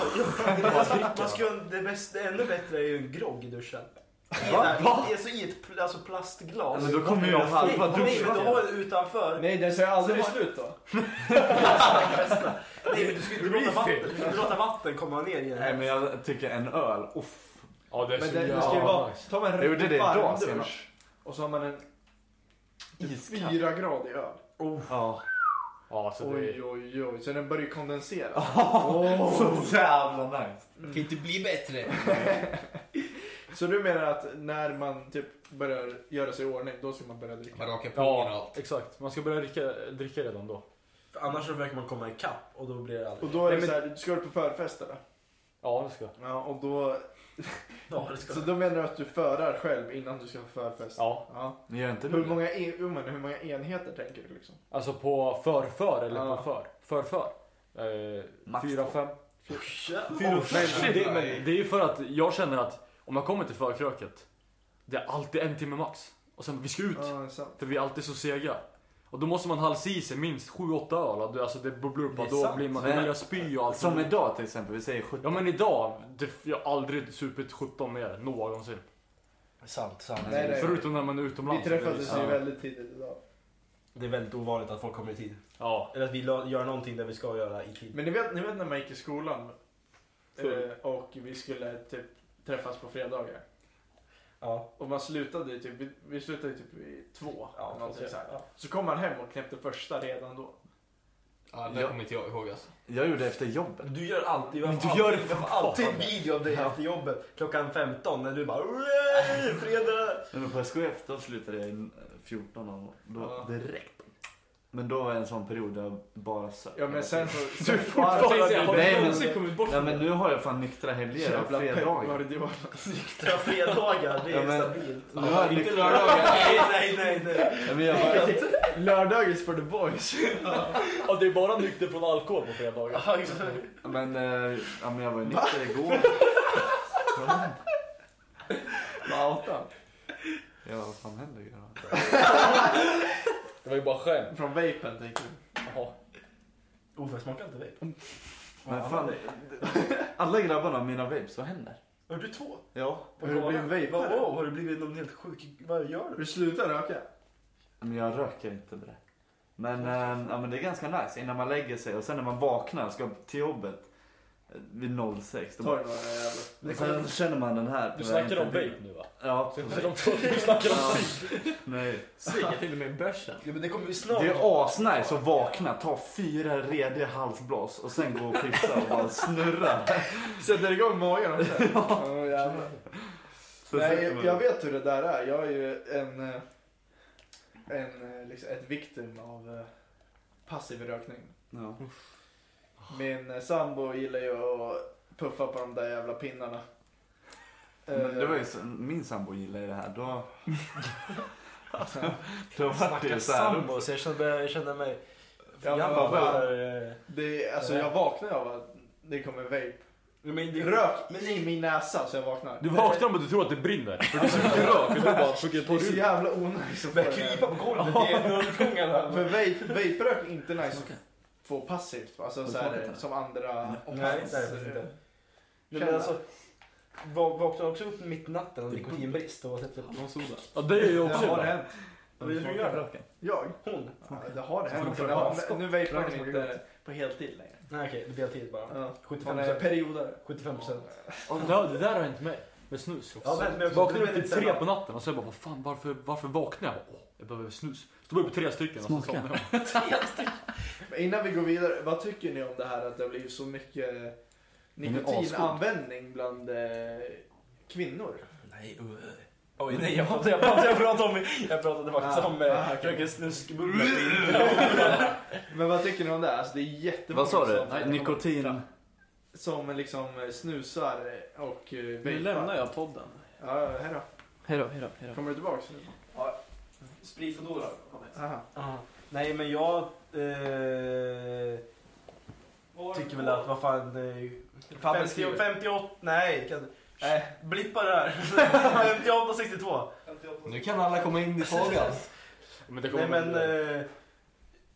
F: Man ska, det, bästa, det ännu bättre är ju en grogg i duschen. I,
C: Va?
F: där,
C: Va?
F: I, alltså i ett pl- alltså plastglas.
C: Men då kommer ju halva
F: Nej, men du har
C: duschen.
F: en utanför.
A: Nej, den tar aldrig
F: Så-
A: slut då.
F: Nej, men du ska ju inte låta vatten, du ska inte låta vatten komma ner i
C: Nej
F: den.
C: men jag tycker en öl, uff.
B: Ja, det är
A: Men
B: så
A: det, det ska ju
B: jävla
A: vara,
B: nice.
A: tar man en
C: Jag gjorde det
A: riktigt
C: idag
A: varm
C: senast.
A: dusch och så har man en
C: Iskall.
A: fyra gradig öl.
D: Oh,
C: Ja.
B: Ja, alltså det är...
A: Oj, oj, oj. Så den börjar ju kondensera.
C: *laughs* Så jävla nice.
D: Det kan inte bli bättre.
A: *laughs* Så du menar att när man typ börjar göra sig i ordning, då ska man börja dricka?
D: Man rakar pungen och
B: Ja,
D: allt.
B: exakt. Man ska börja dricka, dricka redan då.
F: För annars så verkar man komma ikapp och då blir det aldrig.
A: Och då är
B: Nej,
A: det
B: men-
A: såhär, ska du på förfest eller?
B: Ja, det ska
A: Ja, och då...
F: Ja, det ska
A: Så då menar du att du förar själv innan du ska på förfest?
B: Ja,
A: Ja.
C: Ni gör inte
A: Hur
C: det?
A: många, en, hur många- hur många enheter tänker du liksom?
B: alltså på förför eller
A: Ja.
B: på för? Förför. Eh,
C: Max
B: fyra,
C: två.
B: fem.
F: Fyra
B: Men
D: Shit,
B: det,
D: nej.
B: men det är ju för att jag känner att om jag kommer till förkröket, det är alltid en timme max. Och sen vi ska ut,
A: Ja, det är sant.
B: för vi är alltid så sega. Och då måste man halsa i sig minst 7-8 öl. och det- Alltså det bubblar upp
F: Det är
B: och då
F: sant.
B: blir man,
C: Men-
B: man börjar spy och allt.
C: Som idag till exempel, vi säger
B: Ja
C: 17.
B: men idag, det, jag har aldrig supit 17 mer någonsin.
F: Sant, sant.
A: Nej, nej.
B: Förutom när man är
A: Vi
B: utomlands.
A: träffades ju
C: Ja.
A: väldigt tidigt idag.
F: Det är väldigt ovanligt att folk kommer i tid.
B: Ja.
F: Eller att vi la- gör någonting där vi ska göra i tid.
A: Men ni vet, ni vet när man gick i skolan
B: Full.
A: eh, och vi skulle typ träffas på fredagar.
F: Ja,
A: Och man slutade ju typ, vi, vi slutade ju typ vid två.
F: ja,
A: eller någonting
F: fast-
A: så, här.
F: ja.
A: så kom man hem och knäppte första redan då.
D: Ja, det
C: Ja.
D: kommer inte jag ihåg alltså.
C: Jag gjorde efter jobbet.
F: Du gör alltid,
C: Men
F: jag
C: du
F: får
C: gör det
F: alltid, jag
C: för
F: får alltid
C: fan.
F: en video av dig efter jobbet klockan 15 när du bara "Yay, fredag.
C: Men på SKF då slutade jag in, eh, 14 och då
A: Ja.
C: direkt. Men då var det en sån period där jag bara söp.
A: Ja men sen *laughs* så...
C: Du är fortfarande-
A: Ja, det-
C: har
A: det-
C: du
A: det-
C: någonsin
H: kommit bort
C: Nej men nu har jag fan nyktra helger och
A: Jävla Pep
C: fredagar.
A: Guardiola.
F: Nyktra fredagar, det är
C: Ja, men-
F: stabilt.
C: Nu har jag nyktra...
F: nej, nej, nej, nej.
C: Nej, men jag
A: *laughs*
C: bara...
A: Lördag is for the boys.
B: ja, det är bara nykter från alkohol på fredagar.
F: Ja, exakt.
C: Ja, Men, eh, ja, men jag var ju nykter
A: *laughs*
C: igår.
A: Vad outan.
C: Ja vad fan händer grabbar?
B: Det var ju bara skämt.
A: Från vapen tänker du.
F: Oh, jag smakar inte vape.
C: Men fan, alla grabbarna har mina vapes, vad händer?
F: Har du två?
C: Ja.
A: Har du blivit vejpare?
F: Wow, har du blivit någon helt sjuk? Vad gör du?
A: Du slutar röka?
C: Men jag röker inte det. Men, eh, ja, men det är ganska nice innan man lägger sig och sen när man vaknar ska till jobbet eh, vid 06. Då
A: Ta
C: bara,
A: dig några jävla...
C: och sen känner man den här.
B: Du
C: på vägen
B: snackar om
C: förbi.
B: vape nu va?
C: Ja.
B: Så de tror att du snackar om
C: ja. *laughs* Nej.
H: Svika till och med bärsen.
F: Ja, men det kommer vi snart.
C: Det är asnice att vakna, ta fyra rediga halsblås och sen gå och kissa och bara
A: *laughs*
C: snurra.
A: Sätter igång magen också. *laughs* Ja, jävlar.
C: Så sätter
A: Nej,
C: man-
A: jag vet hur det där är. Jag är ju en, eh, en eh, liksom, ett victim av eh, passiv rökning.
C: Ja.
F: Ah.
A: Min eh, sambo gillar ju att puffa på de där jävla pinnarna.
C: Men det var
A: Eh,
C: ju så, min sambo gillade ju det här.
A: *laughs*
C: Då... *laughs* då vart det ju så här.
F: sambo, så jag kände, jag kände mig...
A: Ja, men
F: Jag
A: vad
F: bara,
A: fan.
F: eh,
A: det, alltså, jag vaknar av att det kommer vape.
F: ja, eh, men det-
A: Rök i min näsa så jag vaknar.
B: Du vaknar om att du tror att det brinner. För du sitter rök och du bara försöker
A: Det
B: ta
A: är så
B: dig ur.
A: jävla onajs att få
F: Börjar
A: det
F: krypa
A: här.
F: på golvet,
C: *laughs*
F: det är nullkungarna.
A: För vape, vape-rök är inte nice att få passivt. Alltså, så
C: smakar
A: här,
C: inte?
A: som andra
F: Nej, det är det inte. Nej,
A: Känna.
F: men alltså, va- vaknade också upp mitt i natten av nikotinbrist och var typ...
B: Ja, det är ju
A: Det
B: också
A: har
B: ibland.
A: hänt.
F: Vad är det du gör?
A: Jag?
F: Hon?
A: Ja, det har det hänt.
F: Smakar
A: Det har-
F: avskott.
A: Nu vejpar
F: Röker
A: den
F: smakar
A: inte på heltid längre.
F: Nej okej, det är deltid bara.
A: Ja.
F: 75
A: Han är
F: procent.
A: perioder.
F: 75 procent.
B: Ja, det där har hänt mig. med snus.
F: Ja, men- men-
B: vaknar upp
F: men-
B: till tre på natten och så jag bara, vad fan varför, varför vaknar jag? Åh, jag behöver snus. Så Stod upp tre stycken och så
C: Smaka.
B: somnade
A: Men innan vi går vidare, vad tycker ni om det här att det har blivit så mycket eh,
C: är
A: nikotinanvändning bland eh, *laughs* kvinnor?
F: Nej, uh. Oj, nej, jag pratade, jag pratade, jag pratade, om, jag pratade faktiskt
A: Ah,
F: om eh,
A: ah, okej.
F: Fröken Snuskbulle.
A: Men vad tycker ni om det? Alltså, det är jättemånga
C: Vad sa du?
A: som-
C: Nej, Nikotin?
A: som liksom eh, snusar och eh, vejpar.
H: Nu lämnar jag podden.
A: Ja, hejdå.
E: Hejdå, hejdå, hejdå.
A: Kommer du tillbaks nu?
F: Sprit och dollar.
A: Aha.
F: Ah, Nej, men jag eh, tycker väl att vad fan... Eh,
A: Fan,
F: 50,
A: beskriv.
F: 58, nej. Kan,
A: Nej.
F: blippa det *laughs* här. 58, 62.
D: Nu kan alla komma in i frågan.
B: Men det kommer
F: Nej men... Eh,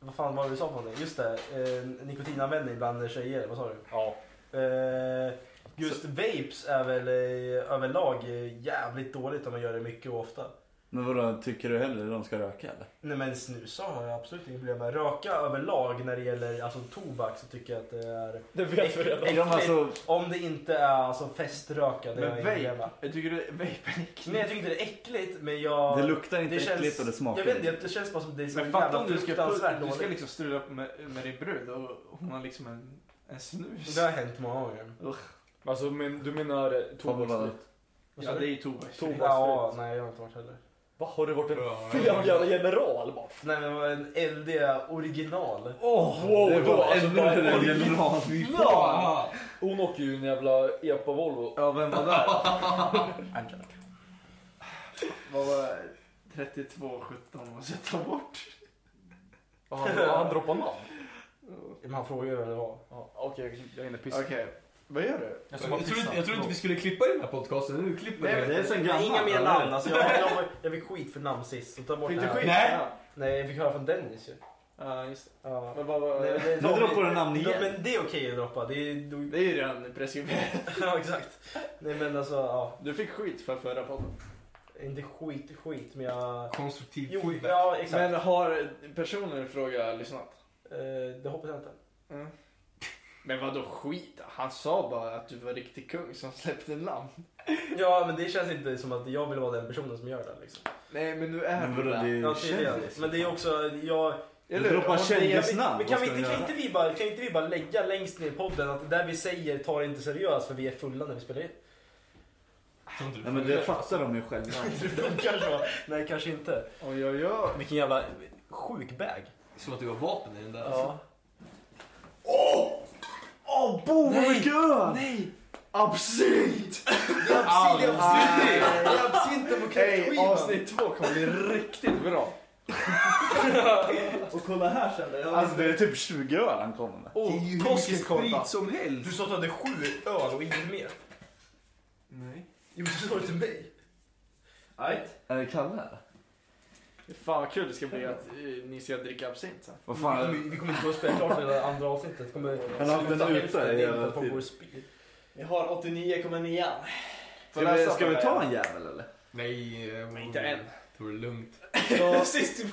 F: vad fan var det du sa på någonting? Just det, eh, nikotinanvändning bland tjejer, vad sa du?
B: Ja.
F: Eh, just vapes är väl eh, överlag eh, jävligt dåligt om man gör det mycket och ofta.
C: *laughs* Men vadå, tycker du hellre de ska röka eller?
F: Nej men snusa har jag absolut inga problem med. Röka överlag när det gäller alltså, tobak så tycker jag att det är...
H: Det vet vi redan.
C: Är de alltså...
F: Om det inte är alltså, feströka, det har
A: Men
F: jag inga problem med.
A: vape, jag tycker du vape är äckligt?
F: Nej jag tycker inte det är äckligt men jag...
C: Det luktar inte
F: det känns-
C: äckligt och det smakar
F: Jag vet inte, det känns bara som det är så
A: Men fatta
F: jävla
A: om du ska,
F: fruktansvärt
A: pu- du ska
F: dåligt.
A: liksom strula upp med, med din brud och hon har liksom en, en snus.
F: Det har hänt många gånger.
B: Alltså men, du menar eh, tobaksfritt?
A: Ja, det är ju tobak.
F: Ja, nej jag har inte varit heller.
B: Va? Har du varit en
D: Bra.
B: fel jävla general? Bara,
F: Nej men det var en eldiga original.
B: Åh, wow,
C: *laughs* Det
B: då,
C: var
B: alltså,
C: ännu
B: bara,
C: en
B: original.
C: general.
B: Hon åker ju en jävla epa Volvo.
A: Ja, vem var *laughs* där? Vad var det? 3217 måste jag ta bort.
B: Och Han, och han droppar namn.
F: Men han frågade vem det var.
B: Ja, Okej, jag är inne och pissar.
A: Okej, vad gör du?
D: Jag tror, inte- jag tror inte vi skulle klippa i den här podcasten, nu klipper
A: Nej,
D: vi.
A: men
F: Det är
C: sen
F: Nej, Inga
C: gammal,
F: mer
C: eller?
F: namn. Alltså, jag, jag, jag fick skit för namn sist. Så ta bort
A: Fick
F: det
A: du
F: här.
A: skit?
D: Nej.
A: Ja.
F: Nej, jag fick höra från Dennis ju.
A: Ja, just det.
F: Ja.
A: Men vad var...
F: Nej, men det-
C: Nu droppar du namn
F: Ja,
C: igen.
F: Men det är okej att droppa. Det är, du, *laughs*
A: Det är ju redan preskriberat.
F: ja, exakt. Nej men alltså, ja.
A: Du fick skit för förra podden.
F: Inte skit, skit men jag...
D: Konstruktiv
F: Jo,
D: feedback.
F: ja exakt.
A: Men har personen i fråga lyssnat?
F: Eh, det hoppas jag inte.
A: Men vad då skit? Han sa bara att du var riktig kung som släppte namn.
F: Ja men det känns inte som att jag vill vara den personen som gör det liksom.
A: Nej, men nu är
C: Men vadå,
A: du
C: det är
A: det.
C: ju
F: Ja, tydligen.
C: kändis.
F: Men det är också, jag...
A: Eller hur?
C: droppar
A: Om det är-
C: kändis-
F: Men- Men
C: namn, vad
F: kan,
C: ska
F: vi inte,
C: vi
F: kan,
C: göra?
F: inte vi bara, kan inte vi bara lägga längst ner i podden att det där vi säger tar inte seriöst för vi är fulla när vi spelar in?
D: Tror inte du
C: Nej men det fattar de ju
F: *laughs*
C: själva. Alltså,
F: Det funkar så. Nej, kanske inte.
A: Oj, oj, oj.
F: Vilken jävla Alltså. sjuk bag.
D: Som att du har vapen i den där.
F: Ja.
A: Åh, boom,
D: Oh
A: vad mycket öl! Nej! Absint! Det är absint, det är absint! Det är absinten på Hej, avsnitt två kommer bli riktigt bra.
C: Och kolla här känner jag. Alltså det är typ 20 öl han kommer med.
A: Oh, Toskis korta.
F: som helst. Du sa att du hade sju öl och inget mer.
A: Nej.
F: Jo, men du sa det till mig. Right.
C: Är det Kalle eller?
A: Fan vad kul det ska bli att eh, ni ska dricka absint sen.
C: Vad
F: Vi
C: fan.
D: Mm.
F: kommer, vi kommer inte kunna spela klart hela andra avsnittet. Vi kommer
C: Han har haft den
F: sluta
C: ute typ-
F: hälften
C: i
F: innan
C: hela
F: folk
C: tiden.
F: går och spyr.
H: Jag har 89,9.
C: Ska vi, ska vi ta en jävel eller?
D: Nej, eh,
A: Men inte än.
D: Tog det lugnt.
F: *laughs*
H: Så- sist,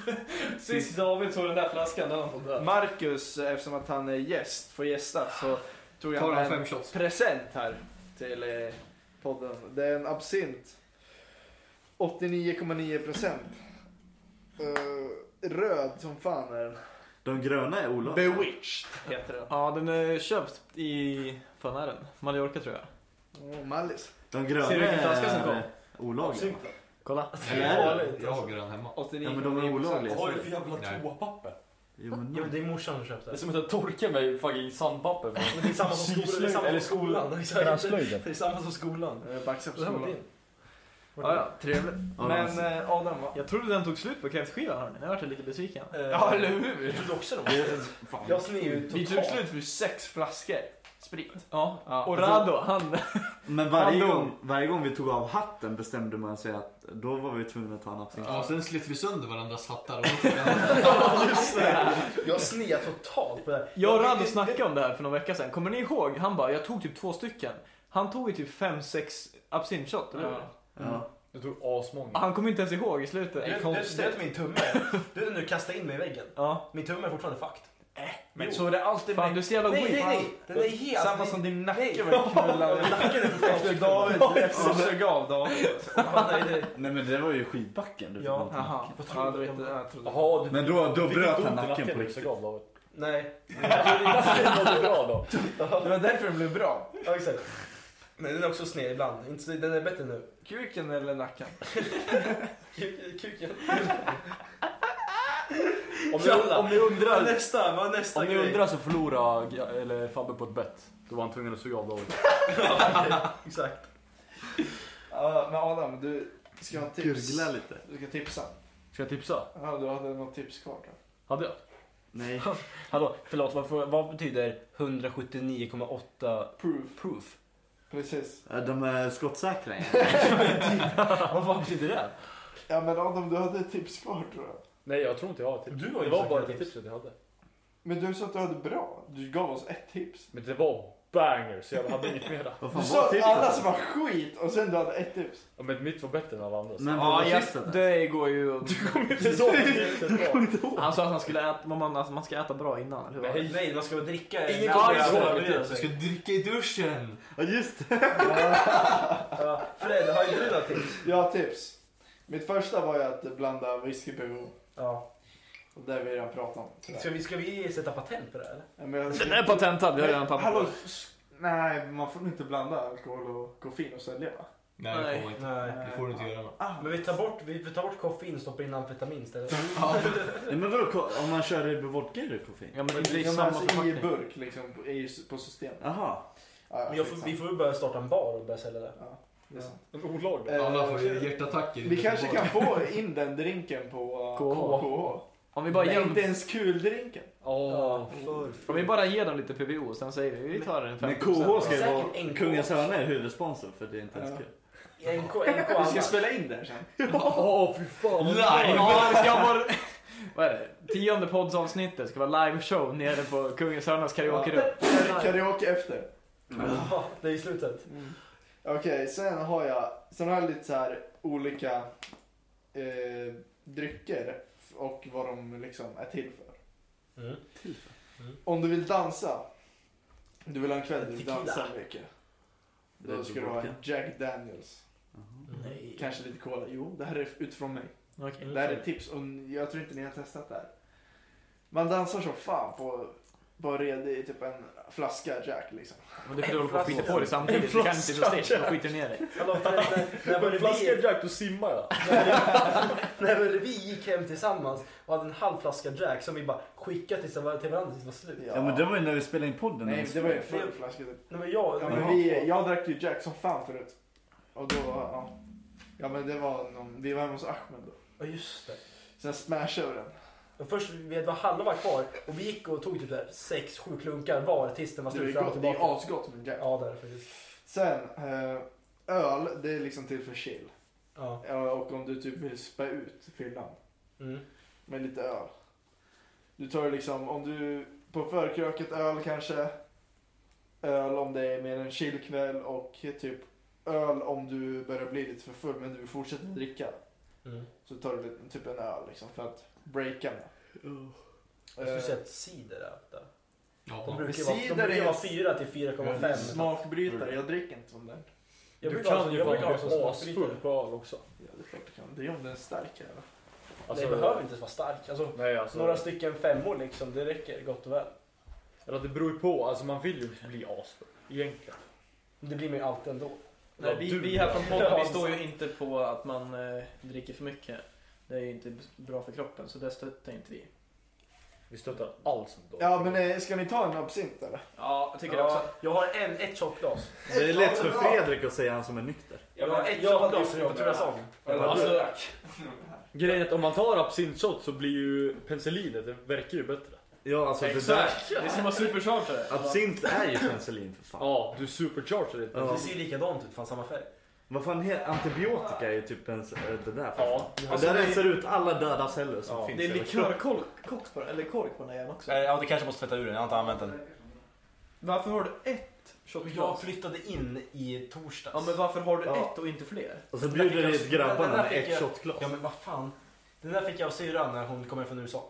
H: sist David tog den där flaskan, den var död.
A: Marcus, eftersom att han är gäst, får gästa, så tog
D: Tar
A: han
D: han
A: en
D: fem shots?
A: present här till eh, podden. Det är en absint. 89,9 procent. Eh, röd som fan är den.
C: De gröna är olagliga.
A: Bewitched heter den.
H: Ja, den är köpt i, fan är den? Mallorca tror jag.
A: Oh, Mallis.
C: De gröna
H: Ser du vilken flaska som kom?
C: är olagliga.
H: Kolla.
C: Eller är det?
F: alltså.
D: Jag har grön hemma.
A: 89,9
C: Ja men de är olagliga.
B: Vad har du för jävla
D: Nej.
B: toapapper?
C: Jo men
F: Ja, men
C: nej.
F: det är morsan som köpte
B: Det är
F: det.
B: som att jag torkar mig i fucking sandpapper.
F: Men det är samma som skolan. Det är samma som skolan. *laughs* Exakt. Det är samma som skolan.
A: Eh, Baxar på
F: Det här var
A: skolan.
F: din.
A: Ja, ja, trevligt.
C: Ja,
A: Men
C: alltså.
A: eh, Adam, va?
H: Jag trodde den tog slut på kräftskivan hörni, nu vart jag lite besviken.
A: Ja, eller hur?
F: Eh, Jag trodde också det.
C: Det är- fan.
F: Jag sned ju
A: Vi
F: *laughs*
A: tog
F: totalt.
A: slut på sex flaskor sprit.
H: Ja.
A: Ja.
H: Och Rado, han...
C: Men varje
H: Random.
C: gång, varje gång vi tog av hatten bestämde man sig att då var vi tvungna att ta en absint.
D: Ja, sen slet vi sönder varandras hattar.
F: Jag sned totalt på det här.
H: Jag och Rado snackade om det här för några veckor sedan. Kommer ni ihåg? Han bara, jag tog typ två stycken. Han tog ju typ fem, sex absintshot, eller hur?
A: Ja.
C: Ja.
B: Jag tog asmånga.
H: Han kom inte ens ihåg i slutet.
F: Du vet- du vet du vet min tumme? Du vet när du kastade in mig i väggen?
H: Ja.
F: Min tumme är fortfarande fucked.
A: Men så är det alltid
F: Fan,
A: med...
F: du är så jävla
A: Nej,
F: weak.
A: nej, nej.
F: Den är helt-
A: Samma som din
F: Nej. *laughs*
A: nacke var knullad.
F: Nacken är
B: *laughs*
A: Efter David, efter du sög av David.
C: Nej men det var ju skidbacken du fick
F: Ja,
C: mot nacken.
A: Jaha, ja, du vet, jag trodde...
E: Jaha, du
C: Men då, då
E: fick inte
C: bröt han
E: ont i
C: nacken på
E: när du
C: riktigt.
E: såg av
B: *laughs*
E: David.
F: Nej.
E: Det mådde bra då.
A: Det var därför den blev bra.
F: Ja, exakt. Men den är också sned ibland. Inte så- Den är bättre nu.
A: Kuken eller nacken?
F: Kuk- Kuken.
B: Om ni, om ni
F: Vad är
B: undrar,
F: nästa? Vad är nästa
B: om ni
F: grej?
B: undrar så förlorade jag- eller Fabbe på ett bett. Då var han tvungen att suga av David.
F: Exakt.
A: Ja, men Adam, du ska ha tips.
G: Gurgla lite.
A: Du ska tipsa.
B: Ska jag tipsa?
A: Ja, du hade något tips kvar då.
B: Hade jag?
E: Nej. Hallå, förlåt, vad, får- vad betyder 179,8
A: Proof.
F: *laughs*
E: proof?
A: Precis.
C: Ja, De är skottsäkra igen.
E: Vad, vad betyder det?
A: Ja, men Adam, du hade ett tips kvar tror jag.
E: Nej, jag tror inte jag har tips.
F: Du har
E: Det
F: ju
E: var
F: sagt
E: bara
F: ett
E: det
F: tips.
E: tipset jag hade.
A: Men du sa att du hade bra. Du gav oss ett tips.
E: Men det var banger, så jag hade inget mera.
C: Vad
A: Du
C: fan
A: sa
C: var
A: att
C: tipset?
A: alla som var skit och sen du hade ett tips.
E: Ja, Men mitt var bättre än alla andra.
C: Men vad var tipset? då?
H: Det går ju...
E: Det är *laughs* så tipset var.
H: Han sa att han skulle äta, man, alltså, man ska äta bra innan, eller hur? var det?
F: Nej, man ska väl dricka...
E: Ingen
F: Nej,
E: kommer
F: man ska
E: ihåg
F: överleva
E: vilket.
F: sig.
D: dricka i duschen!
C: Ja just det.
F: Ja, Fred, har ju du några tips?
A: Jag har tips. Mitt första var ju att blanda whisky-PVO.
F: Ja.
A: Och det har vi redan pratat om. tyvärr.
F: Ska vi, ska vi sätta patent på det här, eller?
A: Ja, men jag-
H: Den är patentad, vi har redan tappat
A: Hallå,
H: den.
A: s- nej, man får nog inte blanda alkohol och koffein och sälja va?
D: Nej, det
H: Nej.
D: får man inte.
F: Nej.
D: Det får du inte göra. med.
F: Men vi tar bort, vi vi tar bort koffein och stoppar in amfetamin istället.
C: Nej, men vadå ko- om man kör Rebel Vodka är det koffein?
E: Ja, men det är
A: Ja, men
E: samma
A: alltså, I
E: förpackning.
A: burk liksom, på- i, på systemet.
C: Jaha.
A: Ja, ja,
F: Men jag får, vi får väl börja starta en bar och börja sälja det.
A: Ja, det är sant.
E: Olagligt.
A: Eh,
D: Alla får ju hjärtattacker.
A: Vi kanske kan få in den drinken på
H: KH.
A: KH.
H: Om vi bara ger
A: Nej,
H: dem,
A: inte ens kuldrinken.
E: Ja.
H: om vi bara ger dem lite PVO, sen säger vi vi tar en 50%.
C: Men KH ska ju
F: Säkert
C: vara
F: NK.
C: Kungens Hörna är huvudsponsor för det är inte ens
A: Ja.
C: kul.
F: NK, NK
A: Vi ska
F: annars.
A: spela in där sen.
E: Åh, fy fan.
H: Ja, det ska vara... Vad är det? Tionde poddsavsnittet ska vara liveshow nere på Kungens Hörnas karaokerum.
A: Karaoke efter.
F: Ja, det är i slutet.
A: Mm. Okej, sen har jag, sen har jag lite så här olika eh, drycker och vad de liksom är till för.
F: Mm.
A: Om du vill dansa, du vill ha en kväll där du
F: Tequila.
A: dansar mycket. Då
C: Red
A: ska du ha
C: Vodka.
A: en Jack Daniels.
C: Mm.
F: Nej.
A: Kanske lite cola. Jo, det här är utifrån mig.
H: Okej.
F: Mm.
A: Det här är tips och jag tror inte ni har testat det här. Man dansar som fan på, på en redig, typ en flaska Jack liksom.
H: Men det är för att du håller på att skita på dig samtidigt. Du kan inte stå still, då skiter du ner dig.
F: Hallå Fred, när, när, vår
E: Men flaska
F: revir,
E: Jack, då simmar jag.
F: när vår revir gick hem tillsammans och hade en halv flaska Jack som vi bara skickade till, till varandra tills det var slut.
C: Ja men det var ju när vi spelade in podden.
A: Nej,
C: När
A: det var ju en
C: vi-
A: full flaska. typ.
F: Nej, men jag,
A: Ja, men
F: Jaha.
A: vi, jag drack ju Jack som fan förut. Och då, ja. Ja men det var någon, vi var hemma hos Ahmed då.
F: Ja just det.
A: Sen smashade jag den.
F: Men först vi var halva kvar och vi gick och tog typ där sex, sju klunkar var tills den var
A: Det var ju
F: slut fram och
A: gott, det är ju
F: tillbaka.
A: asgott med Jack.
F: Ja, där faktiskt.
A: Sen, eh, öl, det är liksom till för chill.
F: Ja.
A: Ja, och om du typ vill spä ut fyllan
F: Mm.
A: med lite öl. Du tar liksom, om du på förkröket öl kanske. Öl om det är mer en chillkväll och typ öl om du börjar bli lite för full men du fortsätter dricka.
F: Mm.
A: Så tar du lite- typ en öl liksom för att breaka Eh, med.
F: Jag skulle säga att cider är där. De
D: Ja.
F: brukar ju
A: men
F: vara, de
A: cider
F: brukar ju
A: är-
F: vara 4 till 4,5.
A: Smakbrytare, jag dricker inte sån där.
F: Jag
E: Du
F: brukar ha
E: kan
F: så-
E: ju
F: jag brukar ha
E: vara
F: som
E: asfull
F: smakbrytare.
E: på öl också.
A: Ja, det är klart jag kan. Det är om den är stark eller?
E: Alltså,
F: det behöver inte ens vara stark. Alltså,
E: Nej, alltså.
F: några stycken femmor liksom, det räcker gott och väl.
E: Eller det beror ju på. Alltså man vill ju inte bli asfull. Egentligen.
F: Men Det blir man ju alltid ändå.
H: Nej, vi, vi här från podden, vi står ju inte på att man eh, dricker för mycket. Det är ju inte bra för kroppen, så det stöttar inte vi.
E: Vi stöttar allt som dåligt.
A: Ja men eh, ska ni ta en absint eller?
H: Ja, jag tycker det
F: Ja,
H: också.
F: jag har en, ett shotglas.
C: Det är lätt för Fredrik att säga han som är nykter.
F: Jag
H: men
F: har ett
H: jag hade
F: shotglas
H: ju
F: för jag
H: fått
F: tror jag
H: göra
F: sa.
H: Alltså,
E: Grejen är att om man tar absintshot så blir ju penicillinet, det verkar ju bättre.
C: Ja alltså det där.
H: exakt! Det är som att superchartare.
C: Absint är ju penicillin för fan.
E: Ja, du supercharger det.
C: Ja.
F: Det ser ju likadant ut, fan samma färg.
C: Vad fan heter antibiotika är ju typ pens- äh, det där. Ja.
E: Ja.
C: Alltså, det rensar ut alla döda celler som
E: Ja.
C: finns.
H: Det
C: i hela
H: likör kork- kork på den, eller kork på den här jäveln också.
F: Eh, Ja, du kanske måste tvätta ur den. Jag har inte använt den.
H: Varför har du ett
F: Jag
H: shotglas?
F: flyttade in i torsdags.
H: Ja men varför har du
C: Ja.
H: ett och inte fler?
C: Och så bjuder
F: Den
C: ni
F: där
C: ut
F: fick jag- den
C: grabbarna
F: där
C: med
F: fick
C: ett
F: jag-
C: shotglas.
F: Ja, men vad fan. Den där fick jag av syrran när hon kommer från USA.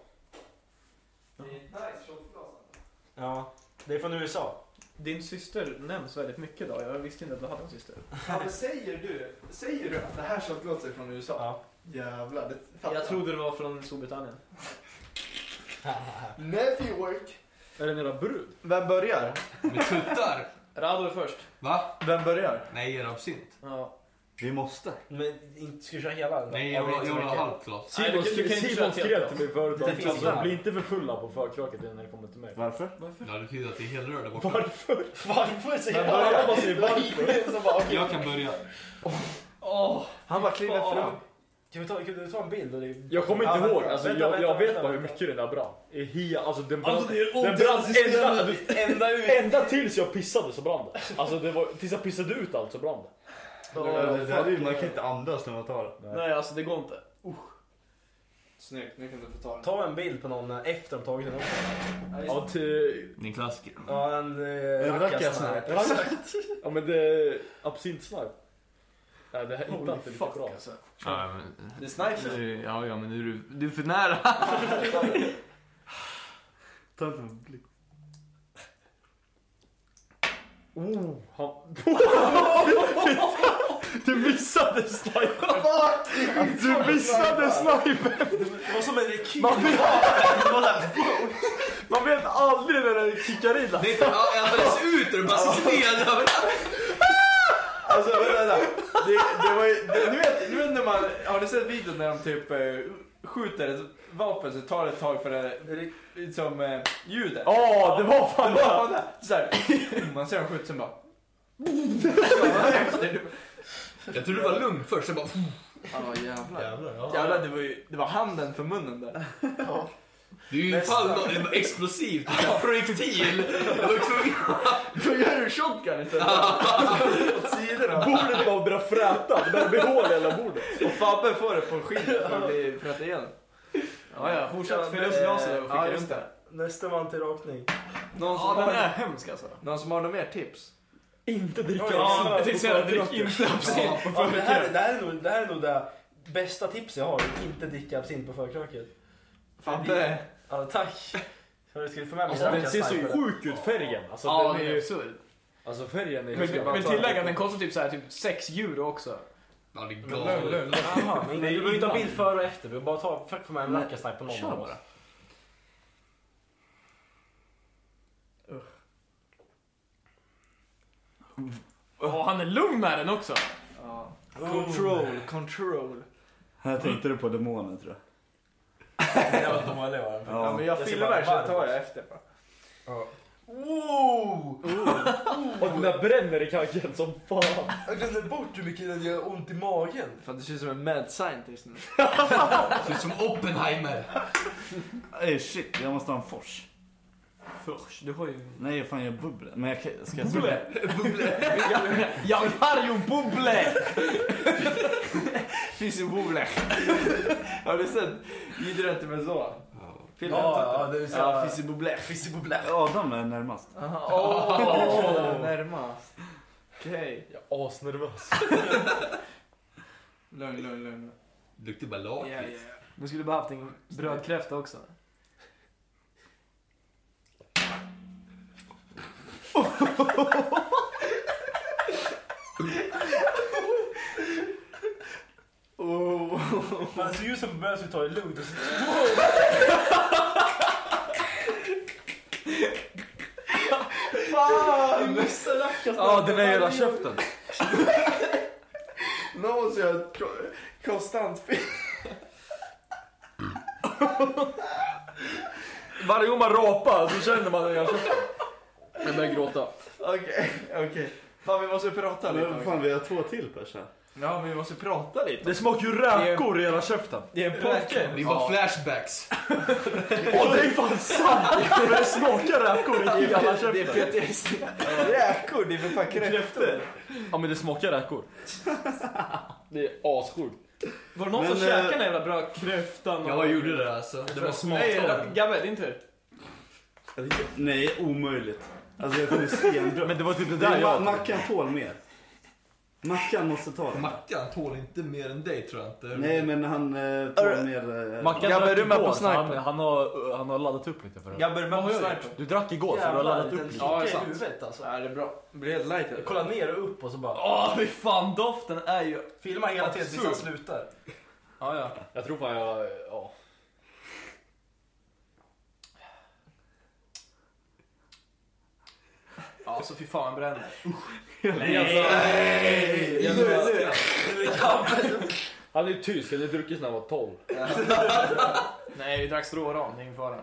F: Ja, det är från USA.
K: Din syster nämns väldigt mycket idag. Jag visste inte att du hade en syster.
A: Ja, men säger du, säger du att det här shotglaset är från USA?
F: Ja.
A: Jävlar, det fattar
K: Jag trodde det var från Storbritannien.
A: New York.
K: Är den era brud?
A: Vem börjar?
L: Med tuttar?
K: Rado är först.
L: Va?
A: Vem börjar?
L: Nej, en absint.
K: Ja.
C: Vi måste.
F: Men inte- ska vi köra hela? eller?
L: Nej,
F: Ja,
L: jag
F: det är
L: vill
F: inte så
L: jag vill ha
F: mycket.
L: halvt glas.
K: Nej, du
B: Simon
K: kan- du kan inte
B: skrev,
K: köra
B: skrev
K: till
B: till mig förut
F: Det finns
B: att alltså,
F: inga.
B: bli inte för fulla på förkröket innan det kommer till
K: *laughs*
B: mig.
C: Varför?
L: Ja, det betyder att det är helrör där borta.
F: Varför säger
B: Men börja.
F: alla bara säger varför? Så bara, okej.
L: Jag kan börja.
A: Han bara kliver fram.
F: Kan vi ta, kan du ta en bild? Eller?
B: Jag kommer
F: Ja,
B: inte
F: vänta,
B: ihåg, alltså,
F: vänta,
B: jag,
F: vänta,
B: jag vet
F: vänta,
B: bara hur
F: vänta.
B: mycket den där brann. I hea, alltså den brann,
K: Alltså, det är
B: den brann ända,
K: odödligt.
F: Ända ut.
B: *laughs* ända tills jag pissade så brann det. Alltså det var, tills jag pissade ut allt så brann det.
C: det där är ju, man kan inte andas när man tar det.
K: Nej, alltså det går inte.
A: Snyggt, nu kan du få ta den.
F: Ta en bild på någon eh, efter de tagit den också.
B: Ja, till,
L: Din klassiker.
F: Ja, en eh,
C: En
F: rackarsnipe.
C: rackarsnipe.
B: exakt. Ja men det, absintsnark. Nej det här hittar inte lika bra.
F: alltså.
L: Ja, men,
A: Det är snipers.
L: nu, ja, ja, men nu är du, du är för nära.
C: Ta inte en blick.
B: Oh, han... du missade snipern! Du missade snipern!
F: Det var som en rekyl.
B: Man vet, man vet aldrig när den kickar in.
L: Det är inte ja, jag andades ut och det bara sved överallt.
A: Alltså vänta, vänta. Det, det var ju, det, ni vet, ni vet när man, har ni sett videon när de typ eh, skjuter ett vapen så tar det ett tag för det, liksom eh, ljudet.
B: Ja, det var fan
A: Det var
B: det!
A: fan det. Så här, man ser dem skjuta sen bara... Efter.
L: Jag trodde det var lugnt först, jag bara...
A: Ja jävlar.
F: Jävlar, ja.
A: Jävlar, det var ju det var handen för munnen där.
L: Det är ju ifall något det var explosivt, det var projektil. Jag var tvungen
A: Då gör du shotgun istället. Åt sidorna.
B: Bordet bara
F: *laughs*
B: började fräta, det började bli hål i hela bordet.
A: Och Fabbe får det på skinnet för att bli frätt igen.
K: Ja, ja. Fortsätt fylla upp
A: Eh,
K: glasen och
A: ja,
K: skicka
A: just
K: runt det.
F: Nästa man till rakning.
A: Någon som,
K: Ja, den är
A: har,
K: hemsk alltså.
A: någon som har några mer tips?
B: Inte dricka
F: Ja,
B: absint.
F: det är så jävla drick
B: inte
F: Ja, men det, här, det, här är nog, det här är nog det bästa tipset jag har. Inte dricka absint på förkröket.
A: Fabbe.
F: Ja, tack. Hörru, ska du få med mig
B: Den Alltså, ser så
F: rackarsnipen?
B: sjuk ut färgen. Alltså,
K: Ja,
B: den är
K: den är
B: ju,
K: absurd.
B: alltså färgen är
K: Men,
B: ju...
K: men tillägga att den kostar typ, så här, typ sex euro också.
L: Ja, det är
K: Lugn,
L: galet.
K: lugn.
F: Jaha, men
B: Det är
F: du behöver inte ha
B: innan.
F: bild före och efter. Du behöver bara ta, försök få med en rackarsnipe på någon.
C: Kör bara.
B: Öh.
K: Och han är lugn med den också.
A: Ja. Control, control.
C: Här tänkte du på demoner tror jag.
F: Det var dålig var den.
A: Ja, men
F: Jag
A: jag
F: ser
A: filmar
F: bara
A: så
F: varm.
A: tar jag efter. bara.
B: Och den där bränner i kaken som fan.
F: Jag glömde bort hur mycket den gör ont i magen.
A: Fan det ser ut som en mad scientist nu.
L: Ser ut som Oppenheimer.
C: Ey shit, jag måste ha en fors.
K: Först, du har
A: *laughs*
K: ju...
C: Nej fan jag bubblar. Men jag kan, ska jag bubblar.
K: Jag har ju bubble!
A: Finns i Woolech. Har du sett Idrott med så? Filmen
F: Ja, ja, det är så.
A: Ja, finns i Woolech.
C: Adam är närmast.
A: *laughs* Åh, närmast. Okej.
B: Jag är asnervös.
A: Lugn, lugn, lugn.
L: Det luktar bara lakrits.
A: Yeah, yeah.
K: Du skulle behövt en brödkräfta också.
F: Fan, det ser ju ut som början som tar det lugnt. och så-
A: Fan!
B: Ja, den är i hela käften.
A: Någon måste göra ett ko- konstant fel.
B: Varje gång man rapar så känner man den i hela käften. Jag börjar gråta.
A: Okej, okej. Fan vi måste prata
C: Men
A: lite.
C: fan vi har två till pers här.
A: Ja, men vi måste prata lite.
B: Det smakar ju räkor i hela käften.
K: Det är en podcast.
L: Det är bara flashbacks.
B: Åh det är fan sant! För det smakar räkor i hela
A: Det är
B: käften.
A: PTSD. Räkor, det är för fan kräftor.
B: Ja men det smakar räkor. Det är assjukt.
K: Var det någon
C: Men,
K: som
C: eh,
K: käkade den jävla brödkräftan? och-
L: Jag gjorde det alltså. Det var
K: Nej,
L: smaktorr.
K: Gabbe, din tur.
C: Nej, omöjligt. Alltså jag kommer stenbröd.
B: Men det var typ det
C: *laughs* Det
B: där
C: är ma-
B: jag...
C: Mackan tål mer. Mackan måste ta den.
D: Mackan tål inte mer än dig tror jag inte.
C: Nej men han eh, tar
A: Arr.
C: mer... Eh,
G: Mackan
A: Gabbe,
G: drack
A: är du med
G: igår,
A: på
G: så han,
A: sniper?
G: han, har, han har laddat upp lite för det.
F: Jag börjar med svärd.
G: Du drack igår så du har laddat upp lite.
A: Ja, det är
F: det
A: sant.
F: huvudet alltså.
A: Ja, det är bra. Det blir helt light här.
F: Kolla ner och upp och så bara...
A: Åh, fy fan. Doften är ju...
F: Filma hela tiden tills han slutar.
A: Ja, ja.
B: Jag tror fan jag... Ja.
A: Ja, Alltså, fy fan, bränner.
F: Nej! Nu, nu.
B: Han är ju tysk, han hade druckit när han var 12.
A: Nej, vi drack stråram. Det är ingen fara.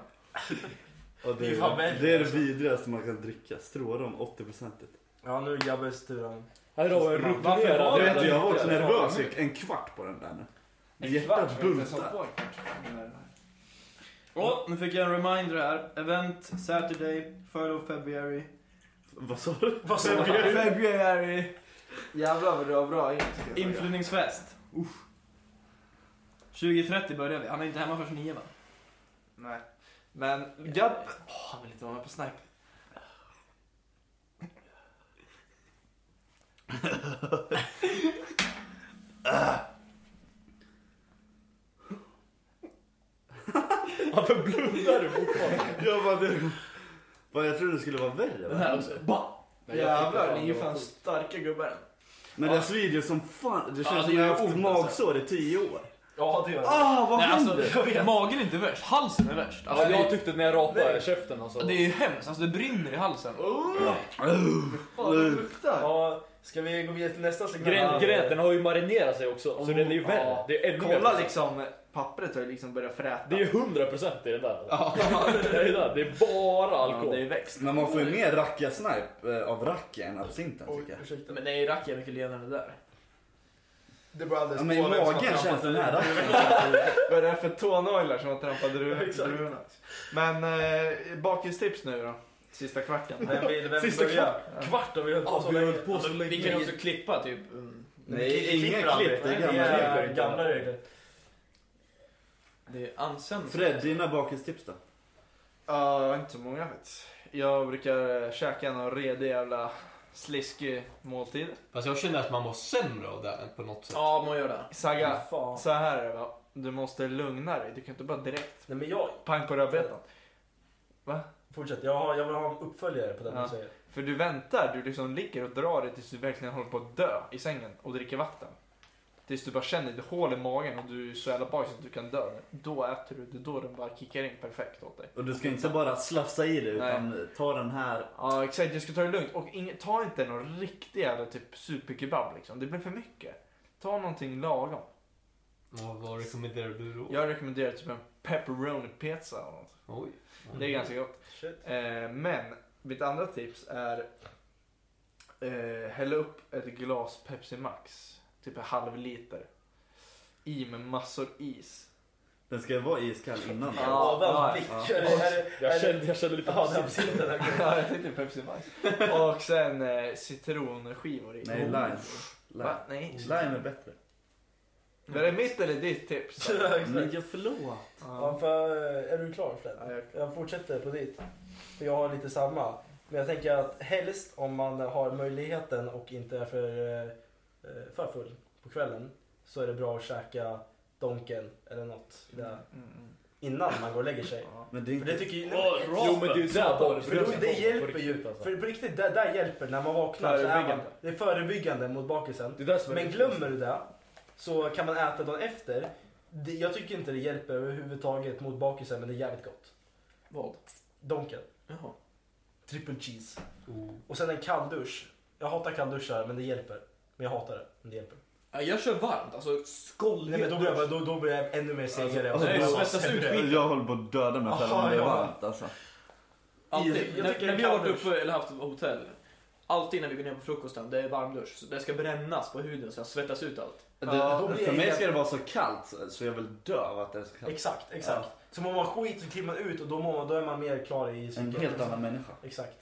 C: och det,
F: Det är fan
C: är,
F: väldigt
C: det är det vidrigaste man kan dricka. Strårom 80%.
F: Ja, nu är Jabbes tur.
B: Här har vi en
C: Varför var det inte? Jag var också
A: Varför
C: nervös.
A: var
C: i En kvart på den där nu.
A: En
C: Hjärtat
A: kvart var inte ens
C: bultar.
A: på en kvart. Men, eh,
H: Åh, nu fick jag en reminder här. Event Saturday, 3rd of February.
C: Vad sa du?
F: Vad sa du?
A: Februari. Jävlar vad du har bra engelska.
H: Inflyttningsfest. 20.30 börjar vi. Han är inte hemma förrän 9 va?
A: Nej. Men Gabb... Åh, han vill inte vara med på Snipe.
C: Varför blundar du fortfarande? jag bara, du... Bara, jag trodde det skulle vara värre.
A: Den här
C: va?
A: också.
B: Alltså,
A: Ba! Jävlar, ni är ju fan starka gubbar.
C: Men det svider som fan. Det känns
A: det
C: som jag
A: gör
C: har haft
A: ont,
C: magsår i tio år.
F: Ja, det gör det.
C: Ah, vad
H: Nej,
C: händer?
H: alltså, magen är inte värst. Halsen är värst. Alltså,
B: Alltså,
H: det,
B: jag tyckte när jag rapade käften alltså.
A: typ-
H: är, det är ju hemskt. Alltså, det brinner i halsen.
A: Oh, Fan, det luktar.
F: Ja, ska vi gå vidare till nästa segment?
B: Grä- Grädden har ju marinerat sig också, så den är ju
A: Ja.
B: värre. Det är ännu
A: Kolla
B: värre.
A: liksom, pappret har ju liksom börjat fräta.
B: Det är ju 100% i den där. *laughs* det, är ju där. det är bara
A: Ja, det är
B: alkohol.
A: ju växt.
C: Men man får ju mer rackasnipe eh, av racky än absinten tycker jag.
F: Oh, Ursäkta.
H: Men nej, Racky är mycket lenare än det där.
F: Det är liksom bara alldeles
C: Ja, men i
F: pålägg som har
C: magen
F: trampat
C: känns den här racken.
A: Vad är det för tånaglar som har trampat dru-
F: Exakt.
A: druvorna? Men eh, bakistips nu då. Sista kvarten.
F: Vem vill, vem vill
A: Sista
F: börja? Kvart har vi hållit på så
C: vi har
F: länge.
C: hållit på så länge.
H: Vi kan ju också klippa typ... mm,
C: Nej, inga
F: Klipper aldrig.
C: klipp.
F: Nej,
C: Det är gamla regler.
F: är gamla regler.
H: Det är ansen.
C: Fred, dina bakistips då?
A: Ja, jag har inte så många faktiskt. Jag brukar eh, käka någon redig jävla sliskig måltid.
D: Fast jag känner att man var sämre av det här på något sätt.
H: Ja, man gör det.
A: Sagga,
H: Mm.
F: Fan.
A: så här är det va. Du måste lugna dig. Du kan inte bara direkt
F: Nej men jag,
A: pang på rödbetan.
F: fortsätt. Jag, har, jag vill ha en uppföljare på den
A: Ja.
F: du säger.
A: För du väntar, du liksom ligger och drar dig tills du verkligen håller på att dö i sängen och dricker vatten. Tills du bara känner ett hål i magen och du är så jävla bakis att du kan dö. Då äter du, det är då den bara kickar in perfekt åt dig.
C: Och du ska inte bara slafsa i det utan ta den här.
A: Ja exakt, du ska ta det lugnt. Och ing- ta inte någon riktig jävla typ superkebab liksom. Det blir för mycket. Ta någonting lagom.
D: Ja, vad rekommenderar du då?
A: Jag rekommenderar typ en pepperoni pizza eller något.
D: Oj.
A: Det
B: Mm.
A: är ganska gott.
F: Shit.
A: Eh, men mitt andra tips är eh, hälla upp ett glas Pepsi Max, typ en halv liter. I med massor is.
C: Den ska ju vara iskall innan.
A: Ja,
F: Adam
A: ja,
F: blickar. Är det- är
B: Jag
F: det-
B: kände, jag kände lite
F: Ja, det
B: absint.
F: är den här
A: *laughs* Ja, jag tänkte Pepsi Max. *laughs* Och sen eh, citronskivor i.
C: Nej, lime.
A: Va?
C: Lime.
A: Nej.
C: Lime är bättre.
A: Var det mitt eller ditt *laughs* tips?
F: *laughs*
C: Men jag förlorar.
F: Ja,
A: Ja.
F: för, är du klar Fred?
A: Ja, jag är
F: Jag fortsätter på ditt. För jag har lite samma. Men jag tänker att helst om man har möjligheten och inte är för, eh, för full på kvällen så är det bra att käka Donken eller något där,
A: Mm, mm,
F: innan man går och lägger sig.
A: ja.
C: Men det
F: För
C: är inte...
F: det tycker ju...
B: Jo men det är ju där
F: för det, det hjälper ju.
B: alltså.
F: För på riktigt, det där hjälper när man vaknar. Så är man,
A: Förebyggande.
F: det är förebyggande mot bakisen.
B: Det är där som är
F: Men
B: viktigt.
F: glömmer du det så kan man äta dagen efter. Det, jag tycker inte det hjälper överhuvudtaget mot bakisen men det är jävligt gott.
H: Vad?
F: Donken.
H: Jaha.
F: Triple cheese. Och sen en kalldusch. Jag hatar kallduschar men det hjälper. Men jag hatar det. Men det hjälper.
H: Ja, jag kör varmt. Alltså, skåll.
F: Nej, men då, blir jag, då, då blir jag ännu mer segare.
C: Alltså,
F: Och
C: jag-
F: så- sämre.
C: Jag håller på att döda mig själv om
F: Aha,
C: det är
F: ja.
C: varmt alltså.
F: Jag
H: Alltid.
F: tycker
H: När,
F: det
H: när vi har varit
F: kalldusch.
H: uppe eller haft hotell. Alltid när vi går ner på frukosten, det är varmdusch. Så det ska brännas på huden så jag svettas ut allt.
F: Ja, då
C: Det,
F: blir
C: för
F: jag
C: mig
F: helt-
C: ska det vara så kallt så- så jag vill dö av att det är så kallt.
F: Exakt, exakt. Så mår man skit så kliver man ut och då, mår man, då är man mer klar i
C: En
F: cykeln.
C: helt annan människa.
F: Exakt.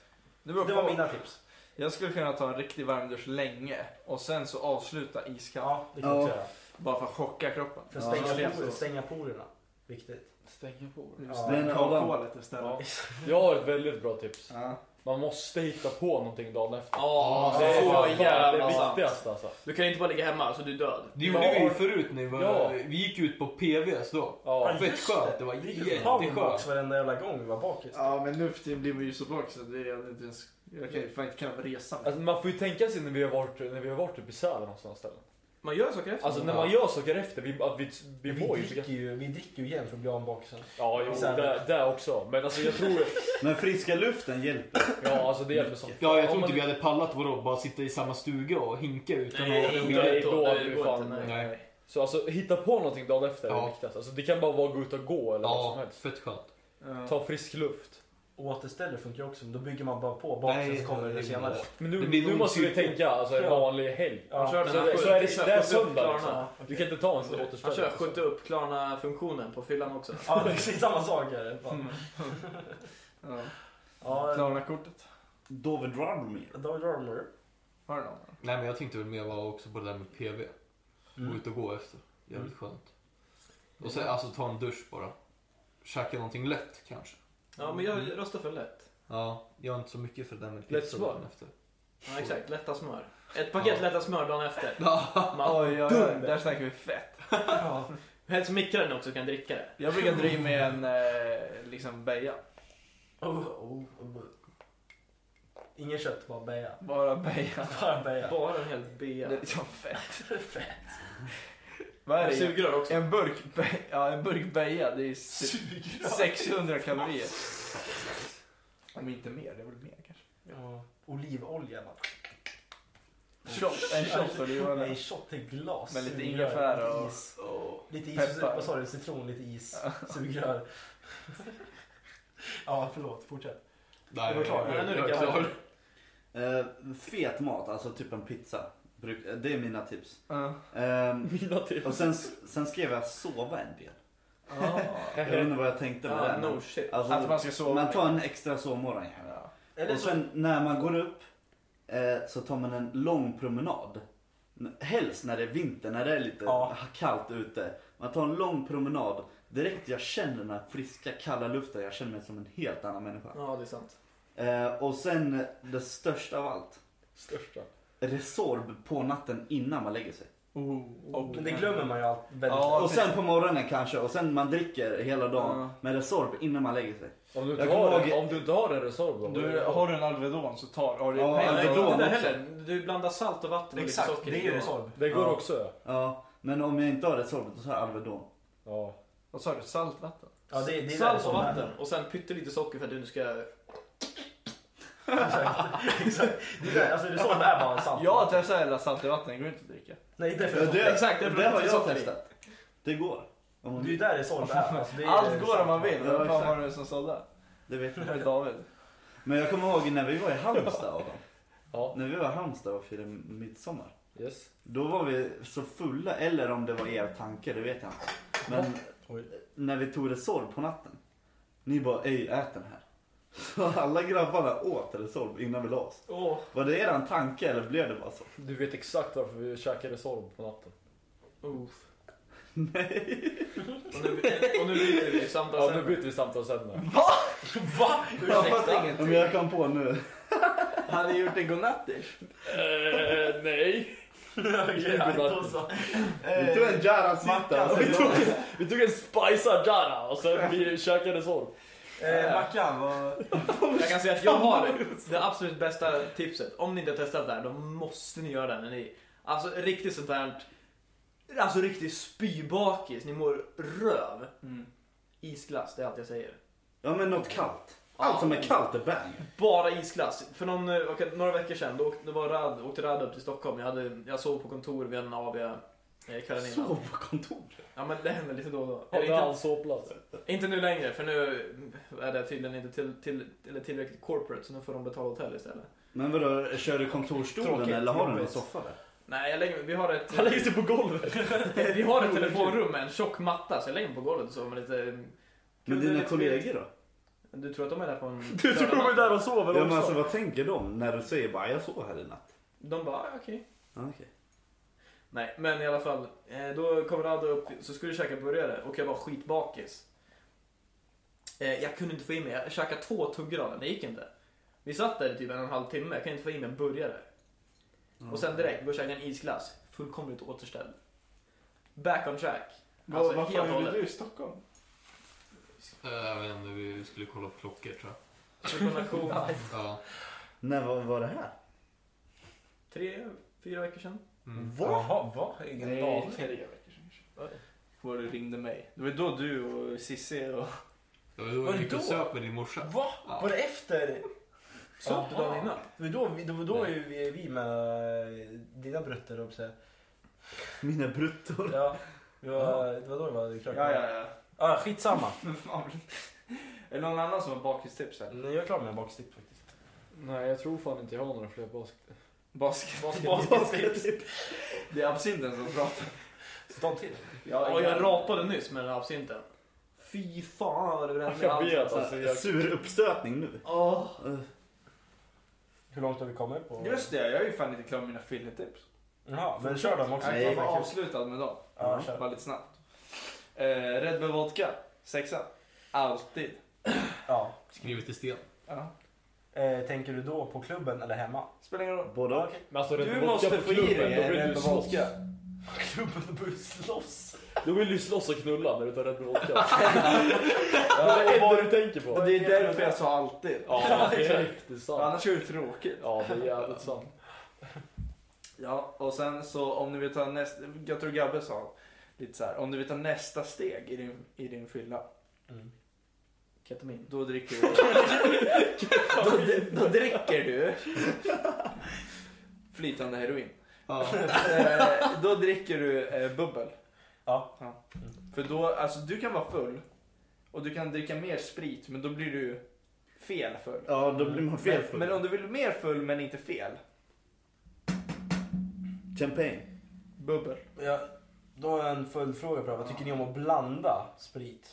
A: Det beror
F: Det var
A: på.
F: mina tips.
A: Jag skulle kunna ta en riktig varmdusch länge och sen så avsluta iskallt.
F: Ja, det kan jag också
C: Ja.
F: göra.
A: Bara för att chocka kroppen.
F: För
C: Ja.
F: att stänga,
A: Ja.
F: por- stänga porerna. Viktigt.
A: Stänga på.
F: Ja.
A: Stänga av
C: Adam.
A: kolet istället.
B: Jag har ett väldigt bra tips.
A: Ja.
B: Man måste hitta på någonting dagen efter.
H: Ja, alltså,
B: det är
H: så
B: fan
H: jävla
B: det
H: sant.
B: viktigaste alltså.
H: Du kan inte bara ligga hemma, så du är död.
D: Det gjorde vi ju förut när vi, var,
B: Ja.
D: vi gick ut på PVs då.
B: Ja.
D: Fett skönt, det var
F: Powerbox
D: jätteskönt.
F: varenda jävla gång vi var bakis.
A: Ja, men nu för tiden blir man ju så bak så det är inte ens... Jag kan ju fan inte kalla det resa.
B: Alltså, man får ju tänka sig när vi har varit, när vi har varit typ i Sälen och sådana ställen.
H: Man gör saker efter.
B: Alltså när man gör saker efter, vi, att vi, vi,
F: Vi
B: mår ju så
F: dricker ju, vi dricker ju igen för att bli av med bakisen.
B: Ja, jo,
F: Sälen.
B: det, det också. Men alltså jag tror,
C: Men friska luften hjälper.
B: ja alltså det hjälper som
D: Ja, jag
B: Om
D: tror
B: man-
D: inte vi hade pallat vadå, bara sitta i samma stuga och hinka utan
H: Nej,
D: att...
H: inte
B: Nej,
H: då,
B: då
H: det
B: hade vi
H: går
B: fan-
H: inte, nej.
D: Nej.
B: Så alltså hitta på någonting dagen efter är
D: Ja.
B: det viktigaste. Alltså, det kan bara vara att gå ut och gå eller vad som
D: Ja,
B: helst.
D: fett skönt.
A: Ja.
B: Ta frisk luft.
F: Återställer funkar också, men då bygger man bara på
D: Nej,
F: bakisen så kommer
D: det
F: det
D: är
F: senare.
D: bra.
B: Men
D: Det
B: nu,
D: blir
B: nu
D: nog
B: måste vi
D: inte-
B: tänka alltså, en
F: Ja.
B: vanlig helg.
H: Han kör
F: Ja.
H: den
B: Så,
H: här
B: så är det, det är
H: skjut- skjut upp
B: söndag liksom.
H: Klarna.
B: Du kan inte ta en alltså. sån
H: Han
B: återställare.
H: kör skjuta upp Klarna-funktionen på fyllan också.
F: *laughs* Ja, det är precis samma sak här. Fan.
A: *laughs* Ja.
F: Ja,
A: Klarna-kortet.
C: David Rudmer.
F: David Armour.
A: Har du någon?
D: Nej, men jag tänkte väl mer vara också på det där med PV. Gå
F: Mm.
D: ut och gå efter. Jävligt skönt. Och sen alltså ta en dusch bara. Käka någonting lätt kanske.
H: Ja, men jag röstar för lätt.
D: Ja, jag är inte så mycket för det där med
B: Lätt
D: pizza
B: smör.
D: dagen efter.
H: Ja, exakt. Lätta smör. Ett paket lätta smör dagen efter. Man,
A: Oj, oj, oj, där snackar vi fett.
H: helst mikra den också så kan jag dricka det.
A: Jag brukar dra i mig en eh, liksom beja.
F: Oh, oh, oh. Ingen kött, bara beja.
A: Bara beja.
F: *laughs* Bara beja.
H: Bara en hel bea.
A: Det är liksom fett. Vad är
H: Jag
A: det?
H: sugrör också.
A: En burk, be- *laughs* ja, en burk beja, det är typ 600 kalorier. Om inte mer, det är väl mer kanske.
F: Ja. Olivolja bara.
A: Shot, en shot och det var
F: Nej,
A: en-
F: shot till glas.
A: Med lite
F: sugrör,
A: ingefära
F: lite
A: och-
F: is. Lite is,
A: Peppar.
F: vad sa du? Citron, lite is, sugrör. *laughs* Ja, förlåt. Fortsätt.
D: Nej,
F: Det var klart.
D: jag- jag-
H: Nej, nu är
D: jag-
H: det
D: jag-
H: klart.
C: Eh, fet mat, alltså typ en pizza. Bruk- eh, Det är mina tips.
A: Ja.
C: Ehm,
B: Mina tips.
C: och sen, sen skrev jag sova en del.
A: Ja.
C: Jag vet inte vad jag tänkte med
H: Ja,
C: det.
H: no shit.
C: Alltså,
A: Ah, Att
C: man,
A: man ska sova.
C: tar en extra sovmorgon.
A: Ja.
F: Eller
C: Och
F: så,
C: sen när man går upp eh, så tar man en lång promenad. N- Helst när det är vinter, när det är lite
F: Ja.
C: kallt ute. Man tar en lång promenad. Direkt jag känner den här friska kalla luften, jag känner mig som en helt annan människa.
H: Ja, det är sant.
C: Eh, och sen det största av allt.
B: Största.
C: Resorb på natten innan man lägger sig.
A: Och-
F: men det glömmer man ju allt väldigt
A: Ja,
C: och sen på morgonen kanske och sen man dricker hela dagen
A: Ja.
C: med Resorb innan man lägger sig.
B: Om du inte,
C: Jag kommer
B: har, en,
C: ihåg-
B: om du inte har en Resorb då.
A: Du, har du en Alvedon så tar har du.
C: Ja,
A: Nej,
H: Nej,
C: Alvedon
H: det är inte det
C: också.
H: heller. Du blandar salt och vatten och lite
F: Exakt,
H: socker.
F: det är ju
H: i.
F: Resorb.
B: Det går
C: Ja.
B: också ja.
C: Ja, men om jag inte har Resorb då tar jag Alvedon.
B: ja.
A: Vad sa du? Saltvatten?
F: Ja, det, det är
H: Salt
F: där
H: och
F: som är.
H: vatten och sen pyttelite socker för att du inte ska...
F: Exakt. Det är där, alltså Resorb är bara salt.
A: Jag har testat hela salt i vatten, det går inte att dricka.
F: Nej, det är
C: Ja,
F: för
C: det-
H: Exakt, det är för
C: det
H: att
C: har
H: det är
C: jag
H: socker i.
C: testat. Det går. Om man
F: Det är ju där Resorb är. Alltså, det är
A: Allt går om man vill.
C: Ja,
A: Vem fan
C: exakt.
A: var det som sa det?
C: Det vet
A: Det
C: jag.
A: var David.
C: Men jag kommer ihåg när vi var i Halmstad Adam.
B: Ja.
C: När vi var i Halmstad och firade midsommar.
B: Yes.
C: Då var vi så fulla, eller om det var er tanke, det vet jag inte. Men
F: Oj.
C: när vi tog Resorb på natten. Ni bara, ej ät den här. Så alla grabbarna åt Resorb innan vi la oss.
H: Åh,
C: Var det eran tanke eller blev det bara så?
B: Du vet exakt varför vi käkar Resorb på natten.
H: uff.
C: Nej.
H: Och nu, och nu byter vi samtal
B: Ja,
H: sen.
B: nu byter vi samtalsämne.
H: Va?
A: Jag fattar
F: *laughs*
C: Om
A: ingenting.
C: jag kom på nu.
A: Hade jag gjort en godnattish?
B: eh, nej.
C: Vi tog en Jarasmatta.
B: Vi tog, vi tog en spicead jara och sen vi käkade Resorb.
F: Eh, Mackan, vad...
H: Jag kan säga att jag
F: *laughs*
H: har det absolut bästa tipset. Om ni inte har testat det här, då måste ni göra det när ni... Alltså riktigt sånt här... Alltså riktigt spybakis, ni mår röv.
A: Mm.
H: Isglass, det är allt jag säger.
C: Ja men något kallt. Allt som är kallt är bang.
H: Bara isglass. För någon, eh, okej, några veckor sedan, då, åkte- då var Rad, åkte Rad upp till Stockholm. Jag, hade, jag sov på kontor vid en AW eh, kvällen innan.
C: Sov på kontoret.
H: Ja men det händer lite då och då. Eller
B: Hade
H: inte,
B: han sovplats?
H: Inte nu längre, för nu är det tydligen inte till, till, eller tillräckligt corporate så nu får de betala hotell istället.
C: Men vadå, kör du kontorsstolen
F: Tråkigt,
C: eller har du någon
F: jobbigt.
C: soffa där?
H: Nej, jag lägger, vi har ett...
B: Han lägger sig på golvet.
H: *laughs* Vi har ett telefonrum med en tjock matta så jag lägger mig på golvet och sover med lite...
C: Men
H: Kunde
C: dina
H: lite
C: kollegor då?
H: fel. Du tror att de är där på en...
B: Du tror de är där och sover
C: Ja, men alltså,
B: också.
C: vad tänker de när du säger bara jag sov här i natt?
H: De bara, ah, okej.
C: Ja, okej.
H: Nej, men i alla fall. eh, Då kom Rado upp, så skulle jag käka burgare och jag var skitbakis. Eh, Jag kunde inte få i mig, jag käkade två tuggor av den, det gick inte. Vi satt där i typ en och en halv timme, jag kan inte få i mig en burgare. Och sen direkt, gå och käka en isglass. Fullkomligt återställd. Back on track.
A: Vad,
H: Alltså,
A: vad
H: helt
A: fan gjorde
H: hållet.
A: du i Stockholm?
D: Eh, Jag vet inte, vi skulle kolla på klockor tror jag.
H: Rekommendation.
D: Ja.
C: När var, var det här?
H: Tre, fyra veckor sedan.
D: Mm.
C: Va?
F: Jaha, va? Ingen
A: Nej,
F: aning.
A: tre veckor sedan
H: Var det?
A: kanske. Var du ringde mig. Det var då du och Cissi och...
D: Det var då
F: Var
D: vi
F: det
D: gick och
F: då?
D: söp med din morsa.
F: Va?
D: Ja.
F: Var det efter?
H: Såg du dagen innan?
F: Det var då, vi- det var då ju vi, vi med dina brötter, höll jag på att *laughs* säga.
C: Mina bruttor.
F: Ja, vi var, det var då vi var
A: Ja,
F: klara.
A: ja, ja.
F: Ah, skitsamma.
A: Men fan. Är det någon annan som har bakistips här?
F: Nu är jag klar med en bakstipp faktiskt. *laughs*
G: Nej, jag tror fan inte jag har några fler basket.
A: Basket.
F: *laughs* Bakstipp?
A: Det är absinten som pratar.
F: Stå till.
H: Ja, jag rapade nyss med den här absinten. Fy fan vad det brände i
G: Jag
H: halsen.
G: vet alltså. Jag...
C: Sur uppstötning nu.
H: Åh.
F: Hur långt har vi kommit på?
A: Just det, jag är ju fan inte klar med mina filletips.
F: Jaha, men kör dem också.
A: Jag
C: Nej,
A: var
F: Ja,
A: avslutad med dem.
F: Ja, kör.
A: Bara lite snabbt. Eh, Red Bull Vodka, sexa. Alltid.
F: Ja.
D: Skrivet i sten.
A: Ja.
F: Eh, tänker du då på klubben eller hemma?
A: Spelar ingen roll.
C: Både och.
G: Men alltså,
A: Du måste få i dig en Red Bull Vodka.
F: Klubben börjar slåss.
G: Då vill du slåss och knulla när du tar Red Bull Vodka. det är det enda du tänker på.
A: Och det är därför jag sa alltid. *laughs*
G: Ja, det är riktigt sant.
A: Annars är det tråkigt.
G: Ja, det är jävligt sant.
A: Ja, och sen så om ni vill ta nästa, jag tror Gabbe sa lite så här, om du vill ta nästa steg i din, i din fylla,
F: Mm.
H: Ketamin.
A: då dricker du. *laughs* då, dri- då dricker du *laughs* flytande heroin. Eh, då dricker du eh, bubbel.
F: Ja.
A: För då, alltså du kan vara full och du kan dricka mer sprit men då blir du fel full.
C: Ja, då blir man fel
A: Men, men om du vill mer full men inte fel,
C: Champagne.
A: bubbel.
F: Ja, då har jag en följdfråga på det här. Vad tycker ni om att blanda sprit?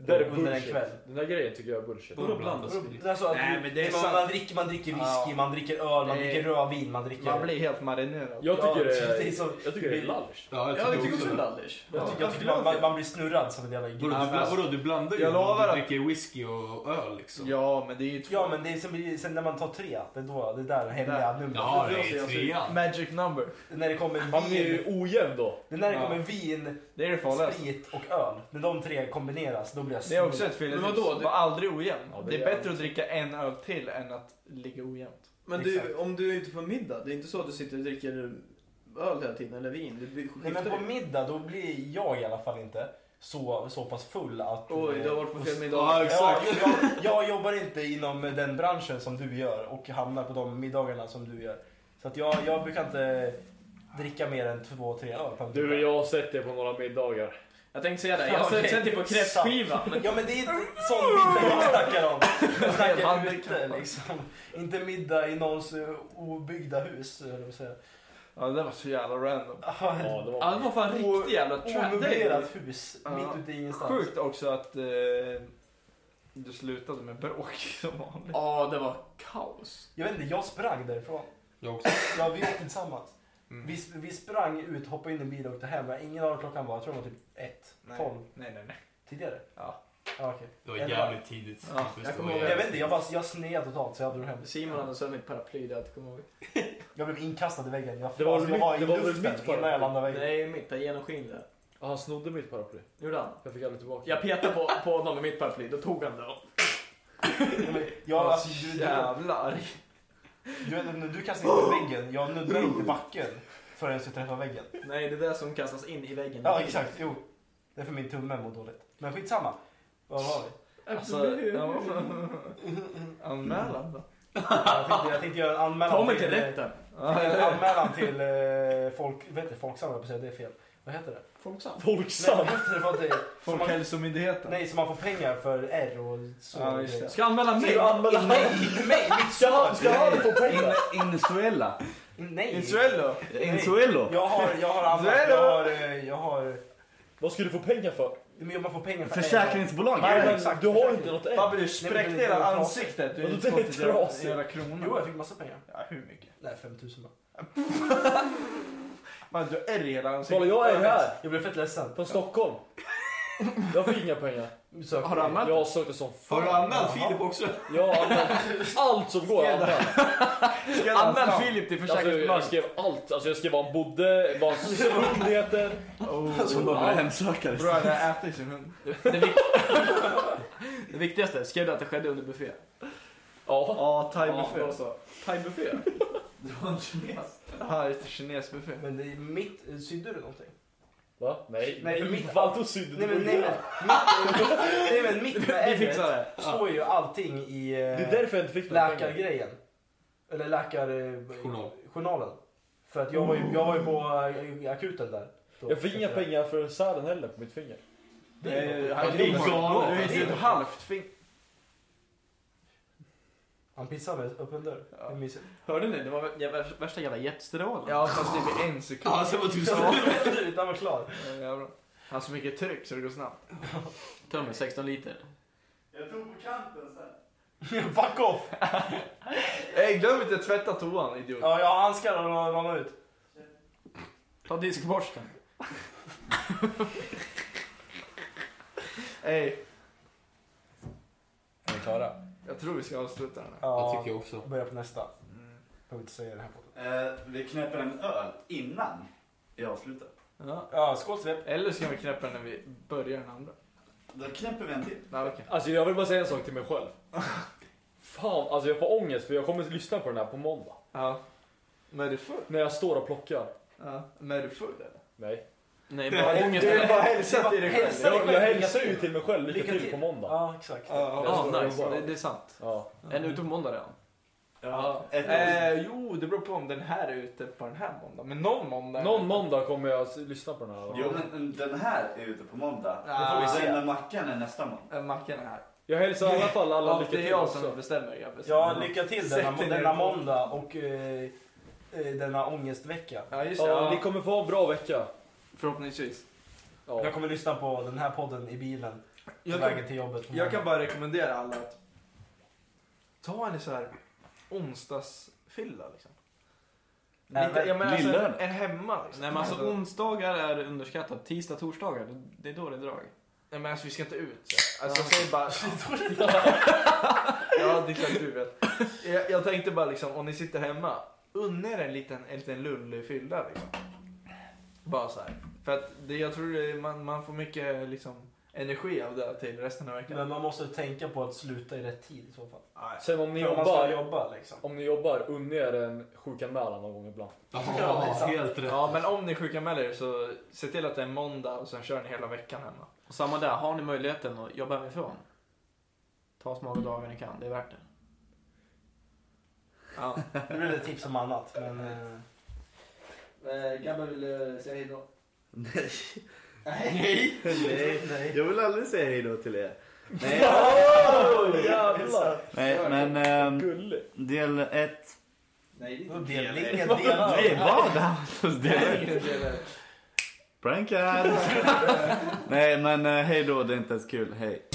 G: Det där är
F: Under en
G: bullshit.
F: kväll.
G: Den där grejen tycker jag är bullshit.
D: Vadå blanda sprit?
F: Det är så Alltså, att
A: Nej,
F: du-
A: men det är
F: man,
A: sant.
F: man, dricker, man dricker whisky,
A: Ja.
F: man dricker öl, man
A: Nej.
F: dricker rödvin, man dricker...
A: Man blir helt marinerad.
G: Jag tycker det är,
F: det är så-
G: jag tycker det är lallish.
D: Ja,
H: Ja, jag
D: tycker
H: tycker också
D: också
H: det är
D: det.
H: lallish.
F: jag tycker, jag tycker
A: Ja,
F: man, man, man blir snurrad som en jävla
D: Vadå, du,
F: gris.
D: bla- vadå, du blandar ju
A: Jag
D: när
A: lovar att-
D: du dricker whisky och öl liksom.
A: Ja, men det är ju två.
F: Ja men det är, sen, blir- sen när man tar tre, det är då, det är där hemliga numret.
D: Ja,
A: jag
D: det
A: ser-
D: är
A: jag ser-
D: trean.
A: alltså, Magic number.
F: När det kommer
G: Han är ju
F: vin,
G: ojämn då.
F: det är när det
A: Ja.
F: kommer vin,
A: Det är det farligaste.
F: sprit och öl. När de tre kombineras, då blir jag
A: Det är
F: snurrig.
A: också ett fel.
H: Men vadå?
A: Var aldrig ojämn.
G: Ja, det
A: det, är
G: är
A: bättre att dricka en öl till än att ligga ojämnt.
H: Men du,
F: Exakt.
H: om du är ute på middag, det är inte så att du sitter och dricker öl hela tiden eller vin. Du by-
F: Nej, men
H: skiftar
F: på
H: ju.
F: middag då blir jag i alla fall inte så, så pass full att... eh,
H: Oj, du har varit på fel middag.
D: Ja,
F: Ja,
D: exakt.
F: jag, jag jobbar inte inom den branschen som du gör och hamnar på de middagarna som du gör. Så att jag, jag brukar inte dricka mer än två, tre öl på en
G: Du och
F: middag.
G: jag har sett det på några middagar.
H: Jag tänkte säga det,
F: Ja,
H: jag har
F: okej.
H: sett dig på kräftskiva. Men
F: Ja men det är inte sån middag jag snackar om. Jag
A: Man
F: snackar
A: kan-
F: ute liksom. Inte middag i någons eh, obyggda hus. eller vad säger
A: *laughs* Ja, det där var så jävla random.
F: jag?
G: Ja, det
H: ja,
G: var...
H: det var fan riktig jävla trap. Det är
F: Omöblerat hus
A: Ja.
F: mitt ute i ingenstans.
A: Sjukt också att eh, du slutade med bråk *laughs* som vanligt.
H: Ja, det var kaos.
F: Jag vet inte, jag sprang därifrån.
D: Jag också.
F: Ja, vi åkte tillsammans.
D: Mm.
F: Vi, sp- vi sprang ut, hoppade in i en bil och åkte hem. Jag har ingen aning vad klockan var. Jag tror det var typ ett,
A: Nej.
F: tolv
A: Nej, nej, nej.
F: tidigare.
A: Ja.
F: ja okej.
D: Det var
F: Eller-
D: jävligt tidigt.
A: Ja,
D: Just det
H: jag kommer
D: var
H: ihåg-
F: Jag
D: jävligt-
F: vet inte, jag, bara, jag sned totalt så jag drog hem.
H: Simon hade sönder mitt paraply, det har jag inte kommit ihåg.
F: Jag blev inkastad i väggen. Jag,
G: Det var
F: alltså, jag
G: väl
F: var
G: mitt-
F: i
G: det var väl
F: luften
G: mitt
F: innan jag
G: paraply?
F: landade i väggen.
H: Nej, mitt. Det är genomskinliga.
G: Ja, Han snodde mitt paraply.
H: Gjorde han?
G: Jag fick aldrig tillbaka det.
H: Jag petade på, på honom med mitt paraply, då tog han det.
F: *laughs* Men Jag, alltså, du, du,
A: Jävlar.
F: du, vet, när du kastade in i väggen. Jag nuddade inte backen förrän jag träffade väggen.
H: Nej, det är det som kastas in i väggen.
F: Ja exakt, jo. Det är för min tumme mår dåligt. Men skitsamma. Vad var vi?
A: Alltså, ja, anmälan då?
F: Jag tänkte, jag tänkte göra en anmälan eh,
H: Ta mig till rätten.
A: Ja,
F: En
A: eller-
F: anmälan till eh, folk, vet inte, Folksam, jag på att säga, det är fel. Vad heter det?
H: Folksam.
F: Nej,
G: Folksam!
F: vad heter det för att det som man,
A: Folkhälsomyndigheten.
F: Nej, så man får pengar för R och så.
A: Ja, just det.
H: Ska jag anmäla mig?
F: Ska du anmäla mig? Mig? Mitt svar? Ska han få pengar?
C: Inesuella.
F: Nej.
A: Insuello.
C: Insuello.
F: Jag har, jag har anmält, jag har, eh, jag har...
G: Vad ska du få pengar för?
F: Men man får pengar för
C: Försäkringsbolag.
F: Nej,
G: Men
F: exakt,
G: du har
F: exakt.
G: inte något än.
A: Babbe du
F: men
A: spräckte
F: det är
A: hela
F: trasigt.
A: ansiktet. Du
G: Och då
A: har inte
G: är
A: fått
G: det
A: ett jävla-
G: trasigt.
A: jävla
F: R. Jo,
A: kronor.
F: jag fick massa pengar.
A: Ja, hur mycket?
F: Nej, 5000 bara.
A: Man, du är i hela
G: Kolla
A: ansiktet.
G: jag är här.
F: Jag blev fett ledsen.
G: Från Stockholm.
B: Jag fick inga pengar.
F: Sök
A: Har du anmält
B: Jag sökte som
M: Har du
B: fan.
M: anmält Filip också?
B: Jag har använt allt som går. Jag har använt.
A: Anmäl Filip till
B: Alltså, jag
A: försäkringsbolag.
B: skrev allt. Alltså, jag skrev var han bodde, vad hans hund heter.
A: Oh. Alltså,
C: Som bara blir hemsökare.
A: Bror han äter sin hund.
H: *laughs*
N: Det viktigaste, skrev du att det skedde under buffé?
B: Ja.
A: Ja, thaibuffé.
N: Thaibuffé?
F: Det var en kines.
A: Ja, just det, kinesbuffé.
F: Men det är mitt, eh, sydde du någonting?
B: Va? Nej.
F: Nej,
B: Hur
F: mitt-
B: fan tog sydde
F: Nej men,
B: du?
F: nej, men, mitt, nej, men
A: *laughs*
F: mitt med ägget står ju allting i eh,
B: Det är därför jag inte fick några pengar.
F: läkargrejen. Eller läkar... eh,
M: Journal.
F: Journalen. För att jag var ju, jag var ju på eh, akuten där. då.
B: Jag fick inga pengar för sälen heller på mitt finger.
A: Det är-
F: Han
A: Han är
F: griner.
A: galen. Det är
F: griner.
A: ett halvt finger.
F: Han pissar med öppen dörr. Det är mysigt.
N: Hörde ni? Det var jä- värsta- värsta jävla jetstrålen.
A: Ja, fast typ i en sekund.
M: Ja, sen var du
F: *laughs* Ja, Han var
A: *laughs*
F: klar.
A: Ja, jävlar. Han har så mycket tryck så det går snabbt.
N: Tömmer 16 liter.
C: Jag tog på kanten sen.
F: Fuck off!
A: *laughs* Ey, glöm inte att tvätta toan idiot.
F: Ja, jag har handskar och ramlar ut.
N: Ta diskborsten.
A: *laughs* Ey,
B: Är ni klara?
A: jag tror vi ska avsluta den här.
M: Det
F: Ja,
M: tycker jag också.
F: börja på nästa.
A: Mm.
F: Jag vill inte säga det här på.
C: Eh, vi knäpper en öl innan jag avslutar.
A: Ja.
F: Ja, skål Svep.
A: Eller ska vi knäppa den när vi börjar den andra?
C: Då knäpper vi en till.
A: Nej, okej.
B: Alltså jag vill bara säga en sak till mig själv. Fan, alltså jag får ångest för jag kommer att lyssna på den här på måndag.
A: Ja. Men är du full?
B: När jag står och plockar.
A: Ja. Men är du full eller?
B: Nej.
N: Nej, bara ångest.
A: Du vill bara hälsa till dig själv.
F: Hälsa dig
B: Jag,
F: själv.
B: jag hälsar ju till mig själv lycka,
F: Lycka
B: till.
F: till.
B: på måndag.
F: Ja, exakt.
A: Ja.
N: Ja, nice. Det, det är sant.
B: Ja.
N: Är ni ute på måndag redan?
C: Ja. Ett öl.
A: Eh, jo, det beror på om den här är ute på den här måndagen. Men någon måndag.
B: Någon måndag kommer jag att lyssna på den här.
C: Jo men den här är ute på måndag.
A: Ah.
C: Då får vi se när mackan är nästa måndag.
A: Eh, Mackan är här.
B: Jag hälsar i alla fall alla
A: Ja,
B: lycka
A: det är
B: till
A: jag som
B: också.
A: bestämmer grabbar.
F: Ja, lycka till denna,
A: Sätt er ner
F: denna
A: på-
F: måndag och eh, eh, denna ångestvecka.
A: Ja, just det.
B: Ja, ni
A: Ja,
B: kommer få ha en bra vecka.
A: förhoppningsvis.
B: Ja.
F: Jag kommer lyssna på den här podden i bilen på
A: Jag
F: vägen
A: kan,
F: till jobbet.
A: jag kan bara rekommendera alla att ta en så här onsdagsfylla liksom.
F: Nej,
A: Lite, jag menar, alltså, en,
C: lillördag.
A: en hemma liksom.
N: Nej men alltså onsdagar är underskattat. Tisdag, torsdagar, det, det är då det är drag.
A: Nej men alltså vi ska inte ut. så. Alltså säg *laughs* bara... ja det är klart du vet. Jag, jag tänkte bara liksom om ni sitter hemma. Unna er en liten, en liten lullig fylla liksom. Bara så här. För att det, jag tror det, man, man får mycket liksom energi av det till resten av veckan.
F: Men man måste tänka på att sluta i rätt tid i så fall.
B: Sen om ni
F: För om man ska
B: jobbar,
F: jobba liksom.
B: om ni jobbar, unna er en sjukanmälan någon gång ibland.
F: Ja, det är
M: Ja,
F: sant.
M: helt rätt.
A: Ja men om ni sjukanmäler er så se till att det är en måndag och sen kör ni hela veckan hemma.
N: Och samma där, har ni möjligheten att jobba hemifrån? Ta så många dagar ni kan, det är värt det.
A: Ja.
F: Nu blir det tips om annat. Men, eh,
A: Gabbe Eh, vill säga hejdå.
N: *laughs*
C: Nej.
F: nej. nej, nej.
C: Jag vill aldrig säga hejdå till er. Nej,
B: Oh, jävlar!
C: Nej men ehm,
B: Gulligt.
C: del 1.
A: Nej
F: Och
A: *laughs*
F: Delning är delad.
C: Vad? Det här var just del ett.
N: *laughs*
C: Prankad! Nej men eh, hej då, det är inte ens kul. Hej.